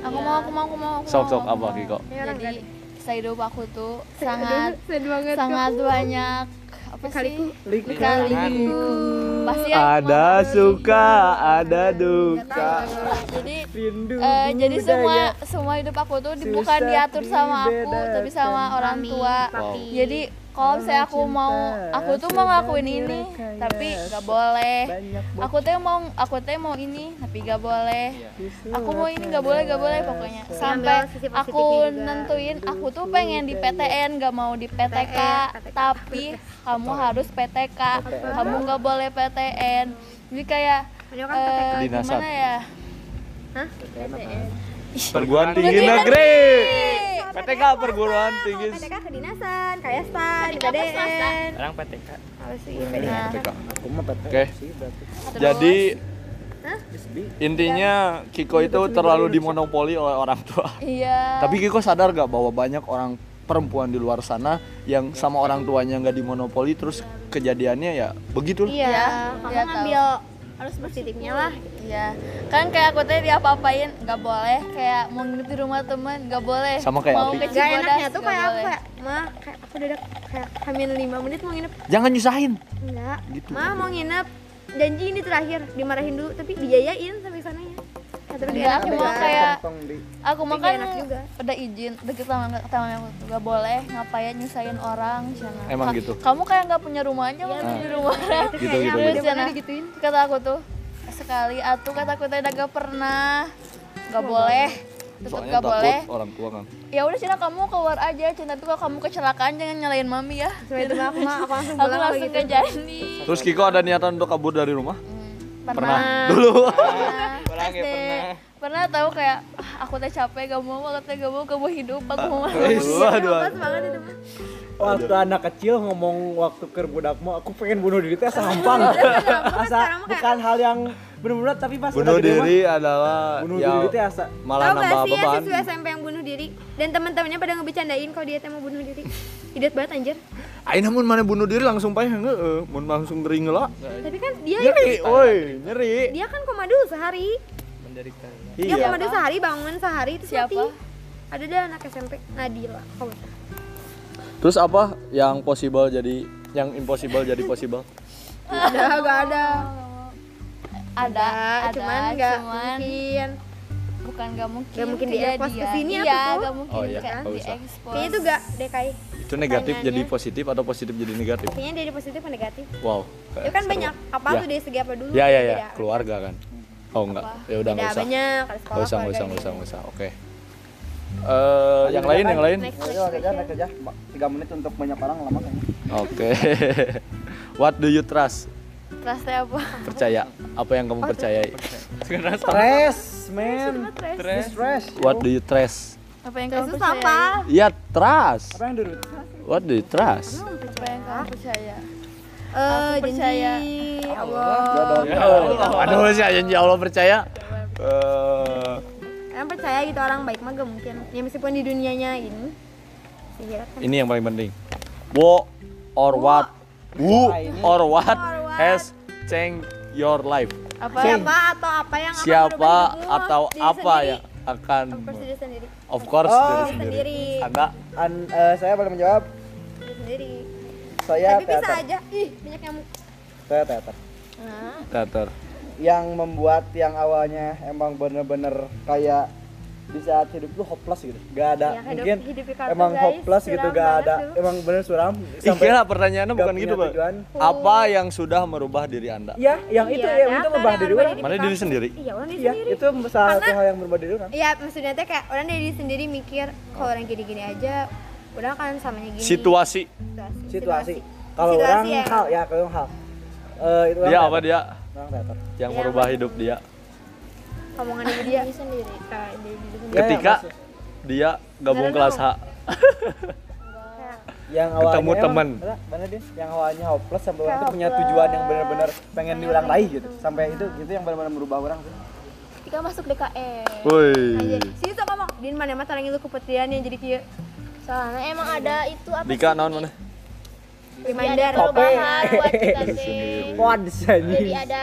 Speaker 4: Aku mau, aku mau, aku mau. aku
Speaker 1: sok
Speaker 4: mau,
Speaker 1: sok
Speaker 4: aku
Speaker 1: apa
Speaker 4: mau.
Speaker 1: Kiko?
Speaker 5: Ya, orang
Speaker 4: Jadi
Speaker 5: nggak
Speaker 4: kisah hidup aku tuh sangat
Speaker 3: Sad banget.
Speaker 4: sangat banyak apa
Speaker 5: Kaliku.
Speaker 4: sih?
Speaker 6: Kaliku.
Speaker 4: Pasti aku
Speaker 1: Ada
Speaker 4: mau-
Speaker 1: suka, ada duka.
Speaker 4: Jadi
Speaker 2: Rindu.
Speaker 4: eh, jadi semua
Speaker 2: budaya.
Speaker 4: semua hidup aku tuh di- bukan
Speaker 2: Susah
Speaker 4: diatur sama aku tapi
Speaker 2: dibedakan.
Speaker 4: sama orang tua.
Speaker 1: Papi.
Speaker 4: Jadi kalau misalnya aku
Speaker 2: cinta
Speaker 4: mau aku tuh mau ngelakuin ini
Speaker 2: saudara kaya
Speaker 4: tapi nggak boleh.
Speaker 2: Banyak
Speaker 4: Aku teh mau aku teh mau ini tapi nggak boleh.
Speaker 1: Iya.
Speaker 4: aku mau ini nggak boleh nggak boleh pokoknya
Speaker 5: Iya,
Speaker 4: sampai
Speaker 5: sisi positifnya
Speaker 4: aku
Speaker 5: juga. Iya,
Speaker 4: nentuin aku tuh pengen di PTN nggak mau di PTK
Speaker 5: PTK.
Speaker 4: tapi kamu harus PTK kamu nggak boleh PTN jadi kayak
Speaker 5: Beliau kan
Speaker 4: eh,
Speaker 1: Kedinasan.
Speaker 4: gimana ya
Speaker 1: Perguruan tinggi negeri. PTK perguruan tinggi.
Speaker 5: PTK kedinasan, kayak stan, di PDN.
Speaker 6: Orang PTK.
Speaker 2: Iya.
Speaker 5: Apa sih PDN?
Speaker 1: PTK.
Speaker 2: Aku mah
Speaker 1: Oke.
Speaker 2: sih berarti.
Speaker 4: Terus,
Speaker 1: Jadi Intinya Kiko itu terlalu dimonopoli oleh orang tua.
Speaker 4: Iya.
Speaker 1: Tapi Kiko sadar gak bahwa banyak orang perempuan di luar sana yang sama orang tuanya nggak dimonopoli terus kejadiannya ya begitu lah.
Speaker 4: Iya.
Speaker 5: kamu
Speaker 4: Iya,
Speaker 5: ngambil harus positifnya lah
Speaker 4: Iya. Kan kayak aku tadi diapa-apain nggak boleh, kayak mau nginep di rumah temen nggak boleh.
Speaker 1: Sama kayak
Speaker 4: mau
Speaker 1: Api.
Speaker 4: ke
Speaker 5: gak
Speaker 4: Cibodas,
Speaker 5: enaknya tuh kayak aku
Speaker 4: nggak ya, boleh.
Speaker 5: kayak ma kayak aku dadak kayak hamil 5 menit mau nginep
Speaker 1: Jangan nyusahin.
Speaker 5: enggak
Speaker 1: Gitu.
Speaker 5: ma mau nginep janji ini terakhir dimarahin dulu tapi dijayain sampai sana ya kata dia
Speaker 4: Enggak, aku mau kayak aku
Speaker 5: Tapi
Speaker 4: mau
Speaker 5: nggak
Speaker 4: kan
Speaker 5: enak juga.
Speaker 4: udah izin deket sama sama aku nggak boleh ngapain nyusahin orang sana.
Speaker 1: Emang
Speaker 4: Ka-
Speaker 1: gitu?
Speaker 4: Kamu kayak nggak punya rumah
Speaker 5: Iya,
Speaker 4: aja mau tidur di rumah orang.
Speaker 1: Gitu gitu.
Speaker 4: Terus
Speaker 1: gitu.
Speaker 4: sana kata aku tuh sekali atuh kata aku tadi nggak pernah nggak boleh tetap
Speaker 1: Soalnya
Speaker 4: nggak boleh
Speaker 1: takut orang tua kan.
Speaker 4: ya udah Cina kamu keluar aja Cina tuh kalau kamu kecelakaan jangan nyalain mami ya
Speaker 5: Sampai itu aku mah aku langsung
Speaker 4: aku
Speaker 5: pulang gitu.
Speaker 4: langsung
Speaker 5: kayak
Speaker 4: ke jadi
Speaker 1: Terus Kiko ada niatan untuk kabur dari rumah?
Speaker 4: pernah
Speaker 1: Dulu.
Speaker 6: Orang ya
Speaker 4: SD
Speaker 6: pernah.
Speaker 4: pernah tahu kayak "Ah, aku teh capek gak mau banget teh gak mau gak mau hidup aku mau
Speaker 1: Aduh, aduh, aduh.
Speaker 5: banget itu mah
Speaker 2: Oh, Waktu anak kecil ngomong waktu ke budak mau aku pengen bunuh diri teh sampang. asa bukan hal yang benar-benar tapi pas
Speaker 1: Bunuh
Speaker 2: udah gede mah,
Speaker 1: diri adalah
Speaker 2: bunuh
Speaker 1: ya
Speaker 2: diri teh asa.
Speaker 1: malah
Speaker 5: tau gak
Speaker 1: nambah
Speaker 5: sih ya
Speaker 1: beban.
Speaker 5: siswa SMP yang bunuh diri dan teman-temannya pada ngebecandain kalau dia teh mau bunuh diri idiot banget anjir
Speaker 1: Ayo namun mana bunuh diri langsung payah heeh, mun langsung tering lah.
Speaker 5: tapi kan dia
Speaker 1: Nyeri, woi, nyeri. Iya.
Speaker 5: dia kan komando sehari
Speaker 6: Menderita.
Speaker 5: dia komando sehari bangun sehari terus
Speaker 4: Siapa?
Speaker 5: mati ada deh anak SMP Nadila kau tahu.
Speaker 1: Terus apa yang possible jadi yang impossible jadi possible?
Speaker 5: ada gak ada
Speaker 4: ada ada
Speaker 5: cuman
Speaker 4: cuman,
Speaker 5: nggak mungkin
Speaker 4: bukan gak mungkin
Speaker 5: Nggak mungkin
Speaker 4: tidak
Speaker 5: diekspos ke
Speaker 4: dia.
Speaker 5: sini apa
Speaker 4: iya
Speaker 5: tuh?
Speaker 4: gak mungkin
Speaker 1: Oh iya,
Speaker 4: kan
Speaker 1: nggak usah.
Speaker 4: diekspos
Speaker 5: kayaknya itu gak DKI
Speaker 1: Itu negatif
Speaker 4: Pertanyaannya-
Speaker 1: jadi positif atau positif jadi negatif?
Speaker 5: kayaknya dari positif ke negatif
Speaker 1: Wow.
Speaker 5: itu kan
Speaker 1: seru.
Speaker 5: banyak apa
Speaker 1: Ya.
Speaker 5: tuh dari segi apa dulu
Speaker 1: Ya ya ya,
Speaker 5: beda.
Speaker 1: keluarga kan. Oh enggak, ya udah
Speaker 5: Beda
Speaker 1: enggak usah. Enggak
Speaker 5: banyak ada
Speaker 1: usah,
Speaker 5: sekolah
Speaker 1: enggak usah,
Speaker 5: keluarga,
Speaker 1: enggak usah, nggak
Speaker 5: ini.
Speaker 1: usah. Oke. Eh, yang lain, yang lain.
Speaker 5: next
Speaker 2: Ayo kerja, naik kerja. Ba- Tiga menit untuk banyak orang lama kayaknya.
Speaker 1: Oke. What do you trust?
Speaker 4: rasanya apa
Speaker 1: Percaya. Apa yang kamu percayai?
Speaker 2: Stress, man.
Speaker 6: Stress.
Speaker 2: Stress.
Speaker 1: What do you trust?
Speaker 4: apa yang kamu
Speaker 5: Terus
Speaker 4: percaya
Speaker 5: apa
Speaker 1: Ya trust.
Speaker 2: Apa yang dulu?
Speaker 1: What do you trust?
Speaker 4: apa yang kamu percaya
Speaker 5: eh
Speaker 4: Aku percaya.
Speaker 5: janji
Speaker 1: Ya
Speaker 5: Allah
Speaker 1: Aduh, saya janji
Speaker 2: ya
Speaker 1: Allah percaya. Eh,
Speaker 5: Emang percaya gitu orang baik mah gak mungkin ya meskipun di dunianya ini sihir kan
Speaker 1: ini yang paling penting. Wo or what? Who or what has changed your life?
Speaker 4: apa
Speaker 5: siapa atau apa yang akan
Speaker 1: Siapa atau apa ya? yang akan
Speaker 5: merubah hidupmu? Diri sendiri. Pasti diri sendiri
Speaker 1: Of course
Speaker 2: Oh.
Speaker 1: diri sendiri.
Speaker 5: sendiri
Speaker 1: Anda
Speaker 2: An- eh, saya boleh menjawab.
Speaker 5: diri sendiri
Speaker 1: Ya,
Speaker 2: Saya
Speaker 5: tapi bisa
Speaker 2: teater.
Speaker 5: aja ih banyak nyamuk
Speaker 1: Iya.
Speaker 2: Saya teater.
Speaker 1: teater.
Speaker 2: Yang membuat yang awalnya emang bener-bener kayak di saat hidup lu hopeless gitu. Gak ada
Speaker 5: Ya, hidup-
Speaker 2: mungkin
Speaker 5: hidup di kartu,
Speaker 2: emang
Speaker 5: guys.
Speaker 2: hopeless gitu
Speaker 5: Suram
Speaker 2: gak
Speaker 5: banget
Speaker 2: ada
Speaker 5: dulu.
Speaker 2: emang bener suram
Speaker 1: Ih, gila, pertanyaannya
Speaker 2: gak
Speaker 1: bukan
Speaker 2: punya
Speaker 1: gitu, Pak.
Speaker 2: tujuan.
Speaker 1: Apa yang sudah merubah diri Anda?
Speaker 2: Iya, yang itu
Speaker 5: Iya,
Speaker 2: yang itu
Speaker 5: teater
Speaker 2: merubah
Speaker 5: yang
Speaker 2: diri
Speaker 5: merubah
Speaker 2: orang.
Speaker 5: diri.
Speaker 1: Mana diri sendiri?
Speaker 5: iya orang diri
Speaker 2: Iya,
Speaker 5: sendiri
Speaker 2: itu salah satu hal yang merubah diri orang.
Speaker 5: Iya, maksudnya teh kayak orang dari diri sendiri mikir kalau orang gini-gini aja, orang kan samanya gini.
Speaker 1: Situasi.
Speaker 5: Situasi.
Speaker 2: Situasi. Kalau
Speaker 5: Situasi
Speaker 2: orang
Speaker 5: ya.
Speaker 2: hal ya kalau hal. Eh itu
Speaker 1: Dia
Speaker 2: orang
Speaker 1: Iya, apa
Speaker 2: teater.
Speaker 1: dia?
Speaker 2: Orang teater. Iya,
Speaker 1: Yang merubah hidup dia.
Speaker 5: Omongan dari dia sendiri. Kayak dari diri sendiri.
Speaker 2: Ya, ya,
Speaker 1: Ketika
Speaker 2: maksud-
Speaker 1: dia gabung kelas H.
Speaker 2: yang awalnya
Speaker 1: Ketemu
Speaker 2: emang-
Speaker 1: temen.
Speaker 2: Ada, mana dia yang awalnya hopeless sampai orang tuh punya tujuan yang benar-benar pengen diulang raih gitu sampai itu itu yang benar-benar merubah orang tuh
Speaker 5: Ketika masuk
Speaker 4: E.
Speaker 5: DKM. Aja.
Speaker 1: Woi.
Speaker 5: Iya. Sini sok ngomong, din mana mah tarang lu kepetrian yang jadi kieu.
Speaker 4: soalnya emang ada itu apa
Speaker 1: Dika naon mana?
Speaker 4: Iya,
Speaker 5: Reminder.
Speaker 4: perubahan buat kita sih
Speaker 5: Iya.
Speaker 2: waduh
Speaker 4: jadi ada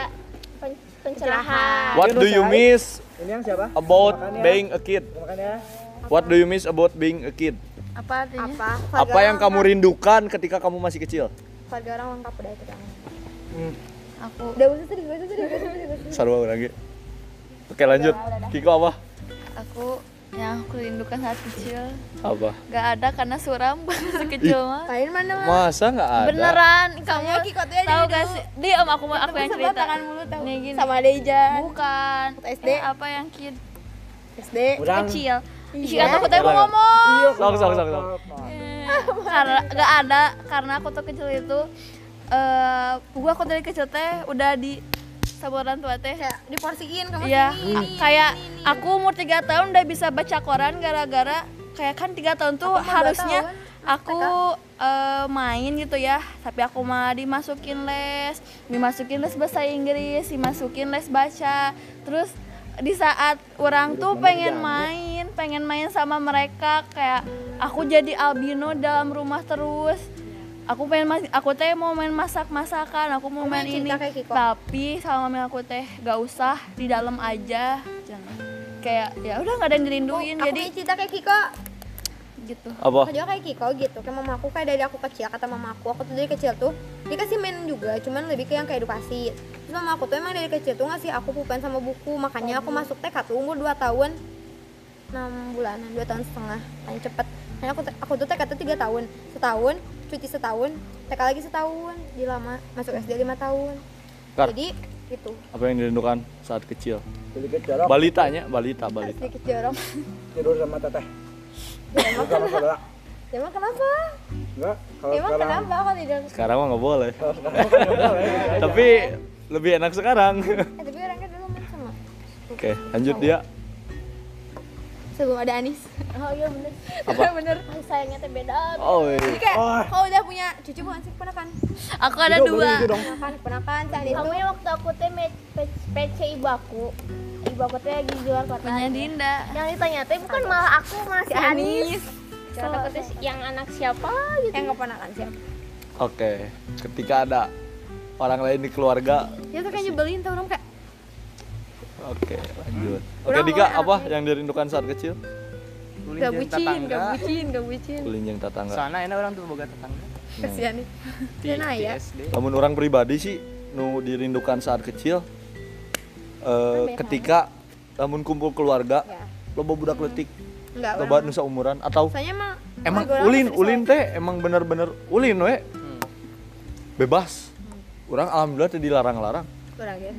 Speaker 4: pen- pencerahan
Speaker 1: What do you miss
Speaker 2: ini yang siapa ya?
Speaker 1: about being a kid?
Speaker 2: makanya
Speaker 1: What do you miss about being a kid?
Speaker 4: apa artinya
Speaker 5: Apa?
Speaker 1: Apa yang kamu rindukan ketika kamu masih kecil?
Speaker 5: keluarga orang lengkap udah itu kan.
Speaker 4: aku
Speaker 5: Udah usah serius, udah usah serius, udah usah serius.
Speaker 1: Sarwa lagi. Oke lanjut. Kiko apa?
Speaker 4: aku yang aku rindukan saat kecil
Speaker 1: Apa?
Speaker 4: Gak ada karena suram masih kecil mah.
Speaker 5: Lain mana lah.
Speaker 1: Masa nggak ada?
Speaker 4: Beneran kamu
Speaker 5: Soalnya Kiko tuh ya
Speaker 4: tahu
Speaker 5: dari
Speaker 4: gak
Speaker 5: dulu.
Speaker 4: sih? Diam aku mau aku yang
Speaker 5: Sebelah
Speaker 4: cerita.
Speaker 5: tangan mulu tahu.
Speaker 4: Nih, gini.
Speaker 5: Sama Dejan.
Speaker 4: Bukan.
Speaker 5: Waktu SD.
Speaker 4: Eh, apa yang kid
Speaker 5: SD.
Speaker 2: Orang.
Speaker 4: kecil? Iya, aku tadi mau ngomong.
Speaker 1: Sok sok sok sok.
Speaker 4: Karena gak ada karena aku tuh kecil itu eh gua aku dari kecil teh udah di sama orang tua teh.
Speaker 5: Kayak diporsiin kamu
Speaker 4: Iya,
Speaker 5: sini.
Speaker 4: a- kayak aku umur 3 tahun udah bisa baca koran gara-gara kayak kan 3 tahun tuh harusnya aku eh, main gitu ya tapi aku mah dimasukin les dimasukin les bahasa Inggris dimasukin les baca terus di saat orang tuh pengen main pengen main sama mereka kayak aku jadi albino dalam rumah terus aku pengen mas- aku teh mau main masak masakan aku mau
Speaker 5: Kamu
Speaker 4: main
Speaker 5: yang
Speaker 4: ini Nah,
Speaker 5: cinta kayak Kiko?
Speaker 4: tapi sama mami aku teh gak usah di dalam aja Jangan. kayak ya udah nggak ada yang
Speaker 2: Oh,
Speaker 4: dirinduin
Speaker 5: aku
Speaker 4: jadi
Speaker 5: punya cerita kayak Kiko
Speaker 4: gitu
Speaker 1: apa
Speaker 5: Aku juga kayak Kiko gitu, kayak mama aku kayak dari aku kecil kata mama aku, aku tuh dari kecil tuh dikasih main juga, cuman lebih ke yang kayak edukasi. Terus mama aku tuh emang dari kecil tuh ngasih aku pulpen sama buku, makanya aku masuk TK tuh umur 2 tahun 6 bulanan, 2 tahun setengah, paling cepet. Nah, aku aku tuh TK tuh 3 tahun, setahun, cuti setahun, TK lagi setahun, di lama masuk SD 5 tahun.
Speaker 1: Kar.
Speaker 5: Jadi gitu.
Speaker 1: apa yang dirindukan saat kecil
Speaker 2: Jadi ke jorok,
Speaker 1: balitanya balita balita
Speaker 5: Sedikit jorok.
Speaker 2: tidur sama teteh.
Speaker 4: Iya,
Speaker 2: Tidur sama saudara.
Speaker 5: Emang kenapa?
Speaker 2: Enggak, kalau
Speaker 4: Iya,
Speaker 5: Emang
Speaker 2: sekarang
Speaker 5: kenapa aku tidak?
Speaker 1: sekarang mah nggak boleh tapi lebih enak sekarang
Speaker 5: Eh, tapi orangnya dulu main sama.
Speaker 1: oke lanjut dia
Speaker 5: Sebelum ada Anis.
Speaker 3: Oh iya bener.
Speaker 1: Apa?
Speaker 3: bener. Oh, sayangnya teh beda.
Speaker 1: oh iya.
Speaker 5: Jadi kayak
Speaker 2: Oh.
Speaker 5: kalau udah punya cucu bukan sih keponakan.
Speaker 4: aku ada
Speaker 2: Tidur,
Speaker 4: dua
Speaker 2: boleh gitu dong.
Speaker 5: Keponakan, keponakan saat itu.
Speaker 3: Kamunya waktu aku teh me- pe- PC ibu aku. Ibu aku teh lagi di luar kota.
Speaker 5: Iya.
Speaker 4: punya Dinda
Speaker 3: Yang ditanya teh bukan malah aku malah si Anis.
Speaker 4: Anis
Speaker 3: Yang takutnya si- yang anak siapa gitu.
Speaker 5: Yang keponakan siapa?
Speaker 1: oke ketika ada orang lain di keluarga
Speaker 5: Dia tuh kayak nyebelin tuh orang kayak
Speaker 1: oke lanjut oke Dika apa yang dirindukan saat kecil
Speaker 6: Gak bucin, gak bucin.
Speaker 1: kulinjeng tatangga
Speaker 6: Soalnya enak orang tuh boga tetangga.
Speaker 5: kasihan nih. ya?
Speaker 6: Di, di SD.
Speaker 1: namun orang pribadi sih nu dirindukan saat kecil eh, ketika namun kumpul keluarga loba budak letik
Speaker 5: Enggak.
Speaker 1: loba nusa umuran atau
Speaker 5: Soalnya emang
Speaker 1: emang
Speaker 5: keluarga orang
Speaker 1: ulin
Speaker 5: tuh
Speaker 1: ulin teh emang bener-bener ulin we bebas orang alhamdulillah teh dilarang-larang
Speaker 5: kurang ya.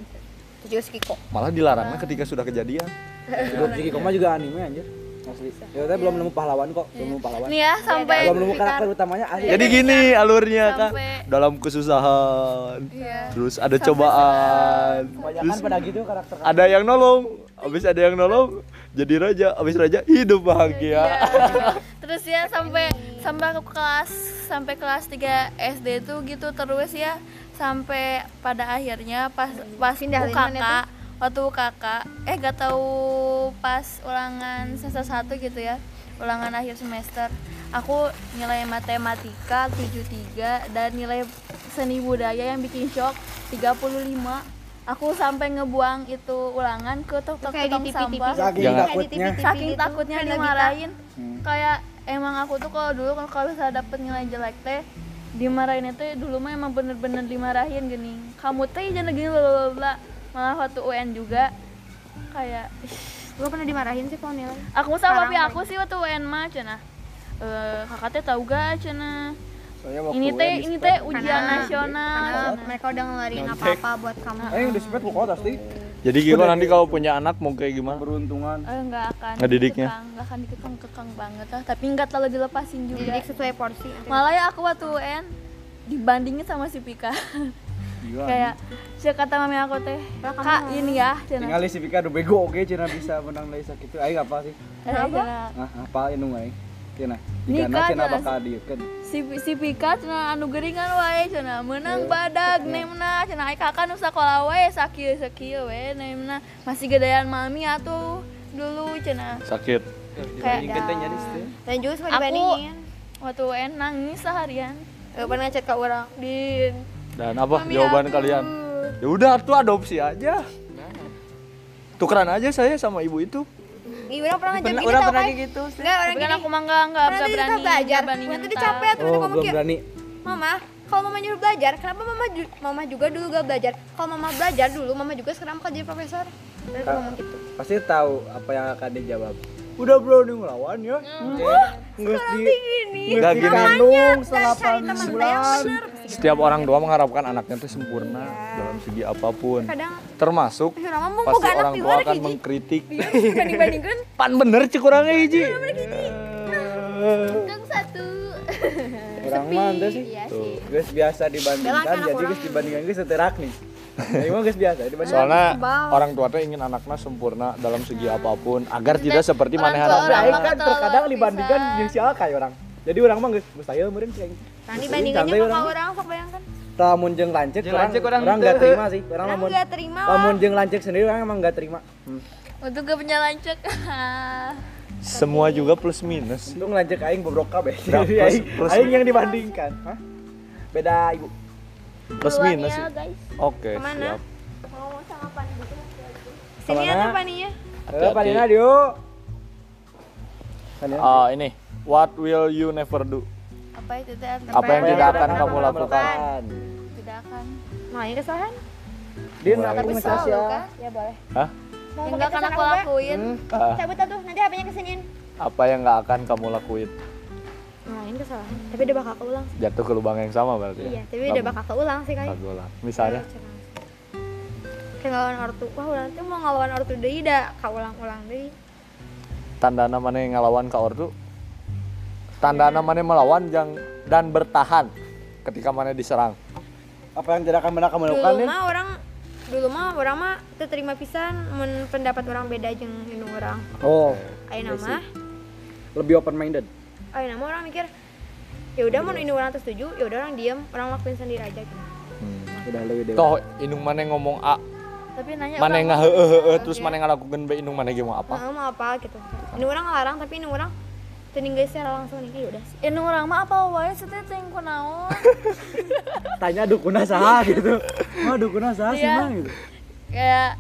Speaker 5: Itu juga si Kiko.
Speaker 1: malah dilarangnya ketika sudah kejadian
Speaker 2: Hidup Jiki Koma juga anime anjir. Asli. Ya teteh belum nemu pahlawan kok, belum nemu pahlawan.
Speaker 4: Iya. nih ya sampai
Speaker 2: Belum nemu
Speaker 4: Fikar.
Speaker 2: karakter utamanya asli.
Speaker 5: Iya,
Speaker 1: jadi gini alurnya kan
Speaker 4: Sampai-
Speaker 1: dalam kesusahan
Speaker 5: Iya.
Speaker 1: terus ada cobaan
Speaker 2: Kebanyakan
Speaker 1: terus
Speaker 2: pada gitu karakter
Speaker 1: ada yang nolong habis ada yang nolong jadi raja habis raja hidup
Speaker 5: Iya.
Speaker 1: bahagia
Speaker 4: terus ya sampai sampai aku kelas sampai kelas 3 SD itu gitu terus ya sampai pada akhirnya pas pas
Speaker 5: Pindah
Speaker 4: UKK,
Speaker 5: lingkungan ya,
Speaker 4: waktu UKK eh gak tahu pas ulangan semester 1 gitu ya ulangan akhir semester aku nilai matematika 73 dan nilai seni budaya yang bikin shock 35 aku sampai ngebuang itu ulangan ke
Speaker 5: Kayak di
Speaker 4: tong-tong
Speaker 5: TV-TV. gitu.
Speaker 4: sampah
Speaker 2: Saking
Speaker 1: Jangan.
Speaker 2: takutnya.
Speaker 4: saking takutnya dimarahin
Speaker 2: Hmm.
Speaker 4: kayak emang aku tuh kalau dulu kan kalau bisa dapet nilai jelek teh dimarahin itu dulu mah emang bener-bener dimarahin gini kamu teh jangan gini blablabla malah waktu UN juga kayak ih,
Speaker 5: Gue pernah dimarahin sih ya. kalau nilai.
Speaker 4: aku sama papi aku sih waktu UN mah cina eh kakak teh tahu gak cina
Speaker 2: Soalnya waktu
Speaker 4: ini teh
Speaker 2: yang
Speaker 4: ini
Speaker 2: di-
Speaker 4: teh ujian
Speaker 5: Karena-
Speaker 4: nasional
Speaker 5: Karena
Speaker 4: cenah.
Speaker 5: Nah, mereka udah ngeluarin apa-apa buat kamu.
Speaker 2: Eh, yang di spek lu kok pasti
Speaker 1: jadi Kiko nanti kalau punya anak mau kayak gimana
Speaker 2: beruntungan.
Speaker 4: Eh, nggak akan
Speaker 1: Ngedidiknya.
Speaker 4: dikekang, nggak akan dikekang kekang banget lah tapi nggak terlalu dilepasin juga
Speaker 5: Didik sesuai porsi.
Speaker 4: malah ya aku waktu UN dibandingin sama si Pika kayak saya kata mami aku teh kak ini ya cina
Speaker 2: Tinggal si Vika udah bego oke cina bisa menang dari sakit itu. Ayo apa sih?
Speaker 4: apa
Speaker 2: Nah, apa ini ngai? Cina.
Speaker 4: Nika,
Speaker 2: Nika cina
Speaker 4: Cina.
Speaker 2: bakal dieukeun.
Speaker 4: si si Pika cina anu geringan wae cina
Speaker 5: Eh,
Speaker 4: menang badag
Speaker 5: iya.
Speaker 4: nemna cina ai kakak nu sekolah wae sakieu sakieu we nemna masih gedean mami atuh dulu cina
Speaker 1: sakit
Speaker 4: kayak
Speaker 6: Dibandingkan teh nyaris teh.
Speaker 4: Eh,
Speaker 5: Dan juga suka
Speaker 4: Aku-
Speaker 5: dibandingin.
Speaker 4: waktu UN nangis seharian
Speaker 5: Aku pernah ngechat ke orang.
Speaker 4: di
Speaker 1: dan apa
Speaker 4: Mami
Speaker 1: jawaban
Speaker 4: aku.
Speaker 1: kalian ya udah tuh adopsi aja tukeran aja saya sama ibu itu
Speaker 5: Ih, orang pernah ngajak
Speaker 6: Pernah,
Speaker 5: gini
Speaker 6: orang
Speaker 5: tau
Speaker 6: pernah
Speaker 5: kan?
Speaker 6: kayak gitu sih.
Speaker 5: Enggak, orang
Speaker 4: tapi kan
Speaker 5: gini.
Speaker 4: aku mah nggak nggak
Speaker 5: Pernah
Speaker 4: nggak
Speaker 5: tadi kita
Speaker 4: berani
Speaker 5: belajar.
Speaker 4: ngebandingin
Speaker 5: Waktu itu
Speaker 4: ntar.
Speaker 5: capek terus
Speaker 2: Oh,
Speaker 5: kamu
Speaker 2: belum
Speaker 5: kayak,
Speaker 2: berani.
Speaker 5: Mama, kalau mama nyuruh belajar, kenapa mama ju- mama juga dulu gak belajar? Kalau mama belajar dulu, mama juga sekarang bakal jadi profesor. Terus aku
Speaker 2: Kak.
Speaker 5: ngomong gitu.
Speaker 2: Pasti tahu apa yang akan dijawab. Udah bro nih ngelawan ya. Nggak di
Speaker 1: Nggak
Speaker 2: nggak di
Speaker 1: gini.
Speaker 2: kandung selama bulan.
Speaker 1: setiap orang tua mengharapkan anaknya tuh sempurna dalam segi apapun
Speaker 5: Iya. Kadang
Speaker 1: termasuk
Speaker 5: Ih, orang mau
Speaker 1: pasti
Speaker 5: boga anak
Speaker 1: orang
Speaker 5: di
Speaker 1: tua
Speaker 5: luar
Speaker 1: akan
Speaker 5: hiji.
Speaker 1: mengkritik
Speaker 5: Dibanding-bandingkan
Speaker 1: pan bener cek orangnya hiji Eh,
Speaker 3: Untung satu.
Speaker 2: Orang mah ente sih.
Speaker 1: Tuh.
Speaker 2: Guys biasa dibandingkan jadi guys dibandingkan guys seterak nih. Emang guys biasa dibandingkan.
Speaker 1: soalnya orang tua teh ingin anaknya sempurna dalam segi apapun agar tidak seperti
Speaker 4: orang
Speaker 1: maneh
Speaker 4: tua
Speaker 1: harap
Speaker 2: Tapi
Speaker 4: orang tua
Speaker 2: kan
Speaker 4: tolol
Speaker 2: terkadang
Speaker 4: pisan.
Speaker 2: dibandingkan jeung si Alkay orang. jadi orang mah geus geus tayeu meureun ceng
Speaker 5: Tani
Speaker 2: Geus
Speaker 5: bandingannya
Speaker 2: santai
Speaker 5: sama
Speaker 2: urang.
Speaker 5: Nah, orang sok bayangkan.
Speaker 2: lamun jeung lancip
Speaker 6: Jeung
Speaker 2: orang
Speaker 6: lancip
Speaker 2: orang
Speaker 6: urang
Speaker 2: nggak
Speaker 6: teu.
Speaker 2: terima sih orang
Speaker 5: Orang
Speaker 2: lamun
Speaker 5: nggak terima lah.
Speaker 2: lamun jeung lancip sendiri orang emang nggak terima hmm.
Speaker 4: Untuk gak punya lancek.
Speaker 1: Semua juga plus minus.
Speaker 2: untung lancip aing bobrok kabeh
Speaker 1: Nah,
Speaker 2: Jadi
Speaker 1: plus-
Speaker 2: aing,
Speaker 1: plus-
Speaker 2: aing yang dibandingkan Hah? beda ibu
Speaker 1: Plus minus. sih. Oke, siap.
Speaker 5: Kemana? Sini
Speaker 2: Kemana?
Speaker 5: apa ya? paninya?
Speaker 2: Halo,
Speaker 1: Hati-hati.
Speaker 2: Panina Dio. Panina.
Speaker 1: Ah, ini what will you never do?
Speaker 4: Apa itu teh?
Speaker 1: Apa yang tidak akan kamu
Speaker 2: kamu
Speaker 1: lakukan?
Speaker 4: Tidak akan.
Speaker 5: Nah, ini kesalahan.
Speaker 2: Dia nggak aku ngecas ya.
Speaker 5: Ya boleh.
Speaker 1: Hah?
Speaker 5: Mau
Speaker 4: Yang
Speaker 5: pakai
Speaker 4: gak akan
Speaker 5: kesalahan
Speaker 4: aku
Speaker 5: apa?
Speaker 4: lakuin.
Speaker 1: Ah,
Speaker 5: Cabut tuh, nanti HP-nya kesiniin.
Speaker 1: apa yang nggak akan kamu lakuin?
Speaker 5: Nah, ini kesalahan. Tapi udah bakal keulang.
Speaker 1: Jatuh ke lubang yang sama berarti. ya?
Speaker 5: Iya, tapi udah
Speaker 1: Lubang-
Speaker 5: bakal keulang sih kayak.
Speaker 1: Lagu lah. Misalnya,
Speaker 5: Kayak ngelawan ortu. Wah, ulang tuh mau ngelawan ortu deui da kaulang-ulang deui.
Speaker 1: tanda namanya yang ngelawan ke ordu. Tanda namanya melawan yang dan bertahan ketika mana diserang.
Speaker 2: Apa yang tidak akan pernah kamu lakukan
Speaker 5: Dulu
Speaker 2: nih?
Speaker 5: mah orang dulu mah orang mah teu terima pisan mun pendapat orang beda jeung nu orang.
Speaker 2: Oh,
Speaker 5: Ayeuna mah
Speaker 2: lebih open minded.
Speaker 5: ayeuna mah orang mikir ya udah mun ini orang teu setuju, ya udah orang diem, orang lakuin sendiri aja gitu.
Speaker 2: Udah lebih dewasa.
Speaker 1: Toh indung mana yang ngomong A,
Speaker 4: Tapi nanya
Speaker 1: mana yang
Speaker 4: orang,
Speaker 1: ngahehehe eh, terus mana yang ngelakukan B, indung mana yang mau apa?
Speaker 5: Nah, mau apa gitu. Ini orang ngelarang tapi ini orang teu ninggal secara langsung nih, ya udah sih.
Speaker 4: Ini orang mah apa wae sih teh ting kunaon?
Speaker 2: Tanya dukuna saha gitu. Mah dukuna saha sih
Speaker 4: Iya.
Speaker 2: mah gitu.
Speaker 4: Kayak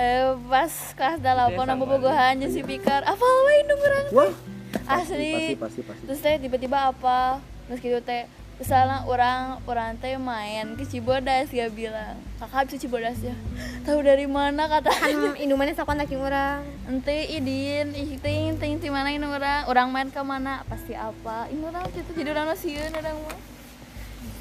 Speaker 4: eh, pas kelas dalapan sama bobogohan jeung si Pikar, apa wae indung orang
Speaker 2: Wah, pasti
Speaker 4: asli.
Speaker 2: pasti pasti.
Speaker 4: Terus teh tiba-tiba apa? Terus gitu teh misalnya orang orang teh main ke Cibodas ya bilang kakak bisa Cibodas ya tahu dari mana kata
Speaker 5: Kan Indomaret sakon laki orang.
Speaker 4: ente idin ih ting ting di mana ini orang orang main ke mana pasti apa ini orang itu jadi orang masih orang mah